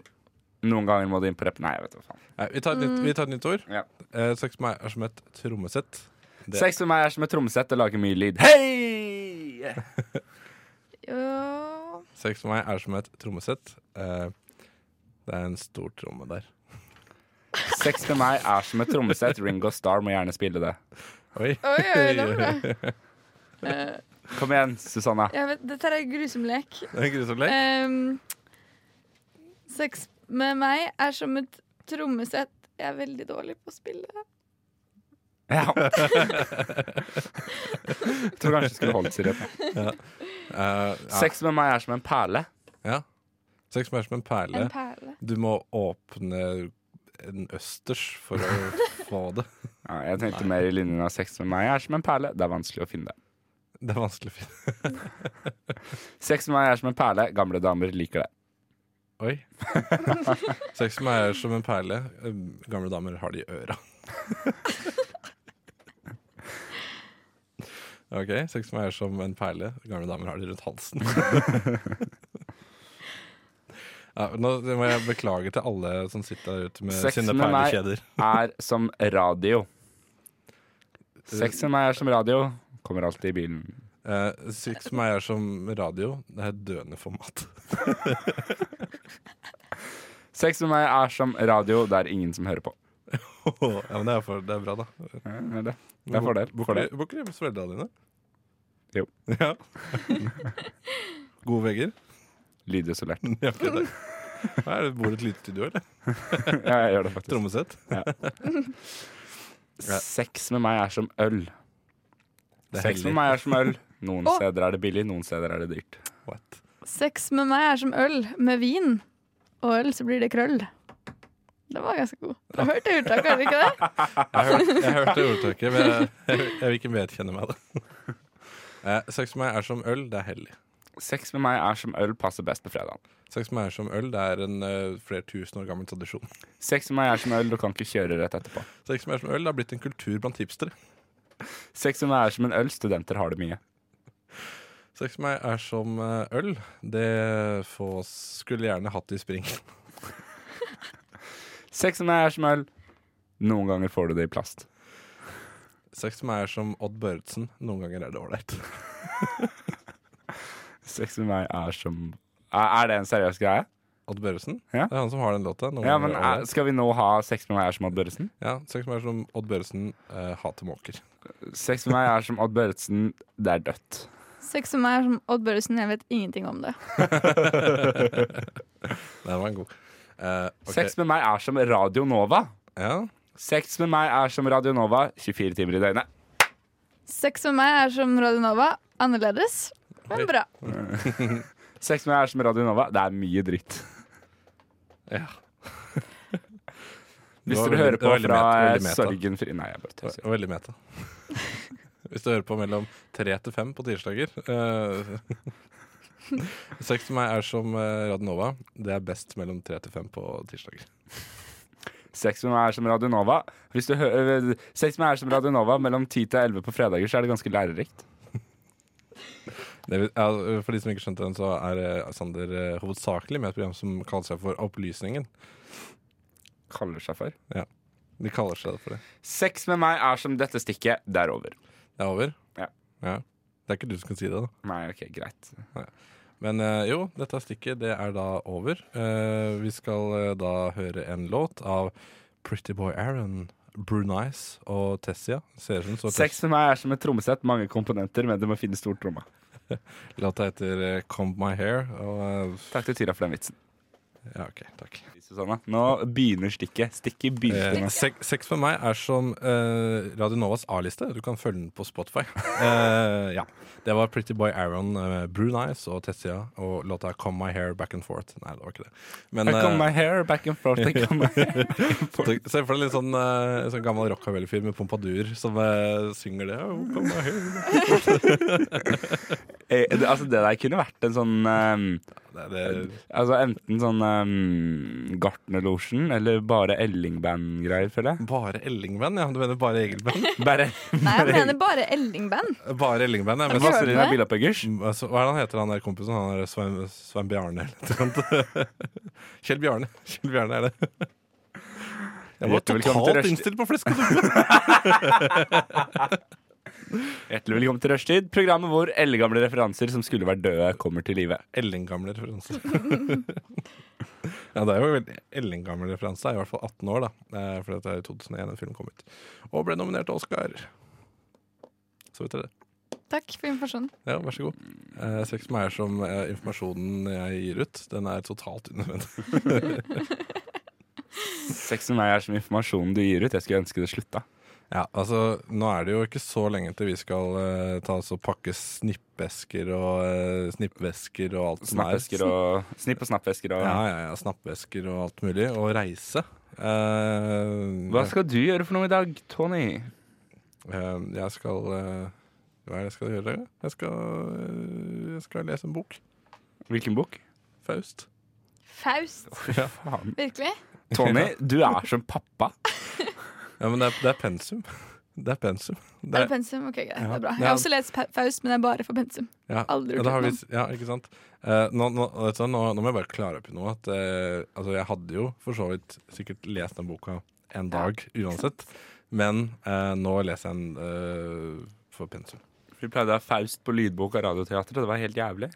Noen ganger må du inn på rep... Nei, jeg vet hva faen.
Nei, vi, tar et nytt, vi tar et nytt ord.
Ja.
Eh, sex med meg er som et trommesett. Det-
Sex med meg er som et trommesett. Det lager mye lyd. Hei!
Jo.
Sex med meg er som et trommesett. Eh, det er en stor tromme der.
Sex med meg er som et trommesett. Ringo Starr må gjerne spille det.
Oi.
Oi, oi, det var bra.
Kom igjen, Susanna.
Eh, Jeg vet, dette er en grusom lek.
Det er en grusom lek.
Ehm, sex med meg er som et trommesett. Jeg er veldig dårlig på å spille.
Ja. Tror kanskje du skulle holdt seg rett.
Eh, ja.
Sex med meg er som en perle.
Ja. Sex med meg er som en perle.
En perle.
Du må åpne en østers for å få det.
Ja, jeg tenkte mer i linjen av sex med meg er som en perle. Det er vanskelig å finne det.
Det er vanskelig å finne.
Sex med meg er som en perle. Gamle damer liker det.
Oi. Sex med meg er som en perle. Um, Gamle damer har det i øra. OK. Sex med meg er som en perle. Gamle damer har det rundt halsen. Ja, nå må jeg beklage til alle som sitter der ute med
Sex
sine
med meg-
perlekjeder.
Er som radio. Sex med meg er som radio. Kommer alltid i bilen.
Eh, sex med meg er som radio. Det er et døende format.
Sex med meg er som radio. Det er ingen som hører på.
ja, men det er, for, det er bra, da.
Ja, det er det. Det er fordel.
Bor
Fordel.
ikke- bor ikke hjemme hos foreldrene dine?
Jo.
Ja. Gode vegger?
Lydisolert.
Ja, ikke det. Nei, det bor et lite studio, eller?
Ja, jeg gjør det faktisk.
Trommesett? Ja.
Sex med meg er som øl.
Det er
Sex med
hellig.
meg er som øl. Noen
Å.
steder er det billig, noen steder er det dyrt.
What?
Sex med meg er som øl med vin. Og øl, så blir det krøll. Det var ganske god. Du har hørt det uttrykket, har du ikke det?
Jeg hørte, jeg hørte ordtaket, men jeg, jeg, jeg vil ikke vedkjenne meg det. Eh, sex med meg er som øl, det er hellig.
Sex med meg er som øl passer best på fredag.
Sex med meg er som øl, det er en eh, flere tusen år gammel tradisjon.
Sex med meg er som øl, du kan ikke kjøre rett etterpå.
Sex med meg er som øl, det har blitt en kultur blant hipstere.
Sex med meg er som en øl, studenter har det mye.
Sex med meg er som eh, øl, det få skulle gjerne hatt i spring.
Sex med meg er som øl, noen ganger får du det i plast.
Sex med meg er som Odd Børretzen, noen ganger er det ålreit.
Sex med meg er som Er er det en seriøs greie?
Odd Børresen?
Ja.
Det er han som har den låta. Noen
Ja,
ganger
men
over
er,
det.
Skal vi nå ha sex med meg er som Odd Børresen?
ja, Sex med meg er som Odd Børresen eh, hater måker.
Sex med meg er som Odd Børresen, det er dødt.
Sex med meg er som Odd Børresen, jeg vet ingenting om det.
Den var en god. Eh, ok.
Sex med meg er som Radio Nova.
Ja.
Sex med meg er som Radio Nova 24 timer i døgnet.
Sex med meg er som Radionova. Annerledes, men bra.
Sex med meg er som Radio Nova. Det er mye dritt.
ja. Det
Hvis
var
dere
veldig-
hører
det
på
var veldig
fra
meta- veldig
eh,
meta.
Sorgenfri Nei, jeg
Det
bare tøyser.
var veldig meta. Hvis du hører på mellom tre til fem på tirsdager eh, Sex med meg er som eh, Radionova. Det er best mellom tre til fem på tirsdager.
Sex med meg er som Radio Nova. Hvis du hø eh, sex med meg er som Radio Nova mellom 10 til 11 på fredager, så er det ganske lærerikt.
Det, vil- ja, for de som ikke skjønte den, så er eh, Sander eh, hovedsakelig med et program som kaller seg for Opplysningen.
Kaller seg for.
De kaller seg det for det.
Sex med meg er som dette stikket. Det er over.
Det er over?
Ja.
Det er ikke du som kan si det, da.
Nei, OK, greit.
Men eh, jo, dette stikket det er da over. Eh, vi skal eh, da høre en låt av Pretty Boy Aaron, Brunice og Tessia. Ser ut som så
Sex med meg er som et trommesett. Mange komponenter, men det må finne stortromma.
Låta heter eh, Comb My Hair. Og eh,
Takk til Tyra for den vitsen.
ja, OK, takk.
Susanne, nå begynner stikket. Stikket begynner.
Eh, sex, sex for meg er som eh, Radio Novas A-liste. Du kan følge den på Spotify. Eh, ja. Det var Pretty Boy Aaron, uh, Brunice og Tessia og låta Come My Hair Back and Forth. Nei, det var ikke det. Men,
I
eh,
come my hair back and forth. I come my hair.
Tenk- Se for deg litt sånn, eh, sånn gammel rockabilly-fyr med pompadur som eh, synger det. Oh, come on here.
Eh, det- Altså, det der kunne vært en sånn ehm,
det, det,
Altså enten sånn um, Gartnerlosjen, eller bare Elling-band-greier, føler jeg.
Bare Ellingband, ja. Du mener bare Egil-band?
Bare,
Nei, jeg mener bare Elling-band.
Bare Ellingband, ja.
Men
Men
hva
hørt
sier
om
du om
det?
Billappøggers?
Mm, altså, Hva så- hva er det han heter, han der kompisen? Han er Svein, Svein Bjarne eller noe sånt. Kjell Bjarne. Kjell Bjarne er det. Jeg var
Hjertelig velkommen til
totalt
Rushdie.
innstilt på flesk og duppe.
Hjertelig velkommen til Rushtid, programmet hvor eldgamle referanser som skulle vært døde, kommer til live.
Elling-gamle referanser. Ja, det er jo en veldig Elling-gammel referanse. Det er I hvert fall 18 år, da. Eh, For dette er i 2001 en film kom ut. Og ble nominert til Oscar. Så vet dere det.
Takk for informasjonen.
Ja, vær så god. Eh, Sex med meg er som eh, informasjonen jeg gir ut. Den er totalt unødvendig.
Sex med meg er som informasjonen du gir ut. Jeg skulle ønske det slutta.
Ja, altså, Nå er det jo ikke så lenge til vi skal eh, ta oss og pakke snippesker og eh, snippvesker og alt som er.
Snappvesker og Snipp og snappvesker og
Ja, ja, ja, snappvesker og alt mulig. Og reise. Eh,
Hva skal du gjøre for noe i dag, Tony?
eh, jeg skal eh, Hva er det jeg skal gjøre? Jeg skal, eh, jeg skal lese en bok.
Hvilken bok?
Faust.
Faust.
Ja,
Faen.
Virkelig?
Tony, du er som pappa.
ja men det er, det er pensum. Det er pensum.
Er
Det
det pensum? Ok, greit, det er bra. Jeg
Ja.
har også lest Pa- Faust, men det er bare for pensum.
Ja,
Aldri
og
gjort
da har vi,
utenom.
ja ikke sant. Eh, nå, nå, vet du, hva, nå, nå må jeg bare klare opp i noe. At, eh, altså, jeg hadde jo for så vidt sikkert lest den boka en dag uansett. Men eh, nå leser jeg den eh, for pensum.
Vi pleide å ha Faust på lydbok av Radioteatret. Det var helt jævlig.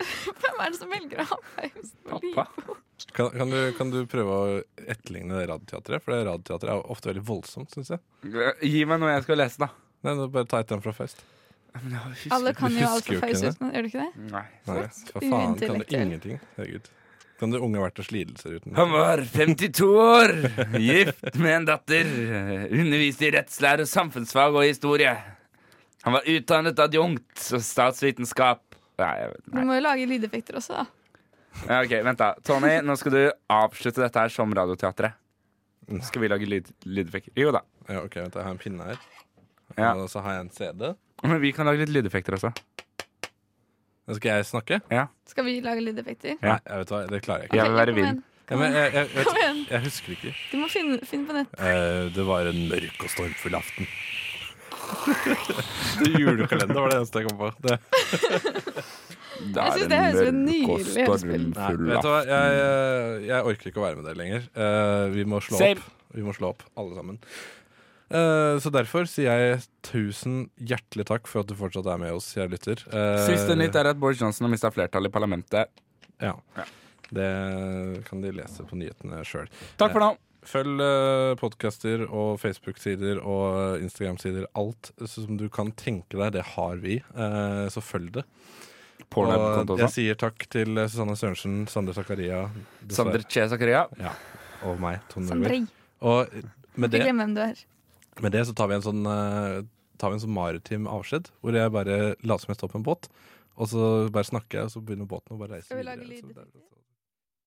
Hvem er det som velger å ha Faust? på
Pappa.
Kan, kan, du, kan du prøve å etterligne det Radioteatret? For det Radioteatret er jo ofte veldig voldsomt, syns jeg.
Gi meg noe jeg skal lese, da.
Nei, nå bare ta et den fra Faust.
Men jeg
liv?
husker-
Alle kan jo
husker
alt
jo ikke
for Faust
det.
utenom, gjør du ikke det?
Nei.
Nei, hva faen, kan du
Uintellektuell.
ingenting? Herregud. Kan du unge har vært og slidelser uten
Han var 52 år, gift med en datter, underviste i rettslære, samfunnsfag og historie. Han var utdannet adjunkt og statsvitenskap. Nei, jeg vet-
Du
nei.
må jo lage lydeffekter også, da.
Ja, Ok, vent da. Tony, nå skal du avslutte dette her som Radioteatret.
Mm.
Skal vi lage lyd, lydeffekter? Jo da.
Ja, OK, vent, jeg har en pinne her.
Ja.
Og så har jeg en CD.
Men vi kan lage litt lydeffekter også.
Nå skal jeg snakke?
Skal vi lage lydeffekter?
Ja.
Nei, jeg vet hva, det klarer jeg ikke.
Jeg
Ok,
vil være
kom igjen.
vin.
Ja, men jeg, jeg, jeg,
Kom igjen.
jeg husker ikke.
Du må finne, finne på nett.
Eh, det var en mørk og stormfull aften. det julekalender var det eneste jeg kom på. Det.
Jeg synes det høres ut som et nydelig hørespill.
Nei, vet du hva? Jeg, eh, jeg orker ikke å være med dere lenger. Eh, vi må slå
Same.
opp. Vi må slå opp, alle sammen. Eh, så derfor sier jeg tusen hjertelig takk for at du fortsatt er med oss, kjære lytter. Eh,
Siste nytt er at Boris Johnson har mista flertallet i parlamentet.
Ja.
Ja.
Det kan de lese på nyhetene sjøl.
Takk for nå.
Følg uh, podkaster og Facebook-sider og eh, Instagram-sider. Alt som du kan tenke deg, det har vi. Eh, så følg det.
Pornhub-konto
Og jeg
også.
sier takk til eh, Susanne Sørensen, Sander Zakaria
Sander
dessverre,
Che Zakaria.
og meg, Tom Nordby.
Sandrei.
Og med
Ikke
det,
glem hvem du er.
med det så tar vi en sånn eh, Tar vi en sånn maritim avskjed, hvor jeg bare later som jeg står på en båt, og så bare snakker jeg, og så begynner båten å bare reise
Skal vi lage
videre. Så
lyd?
det er-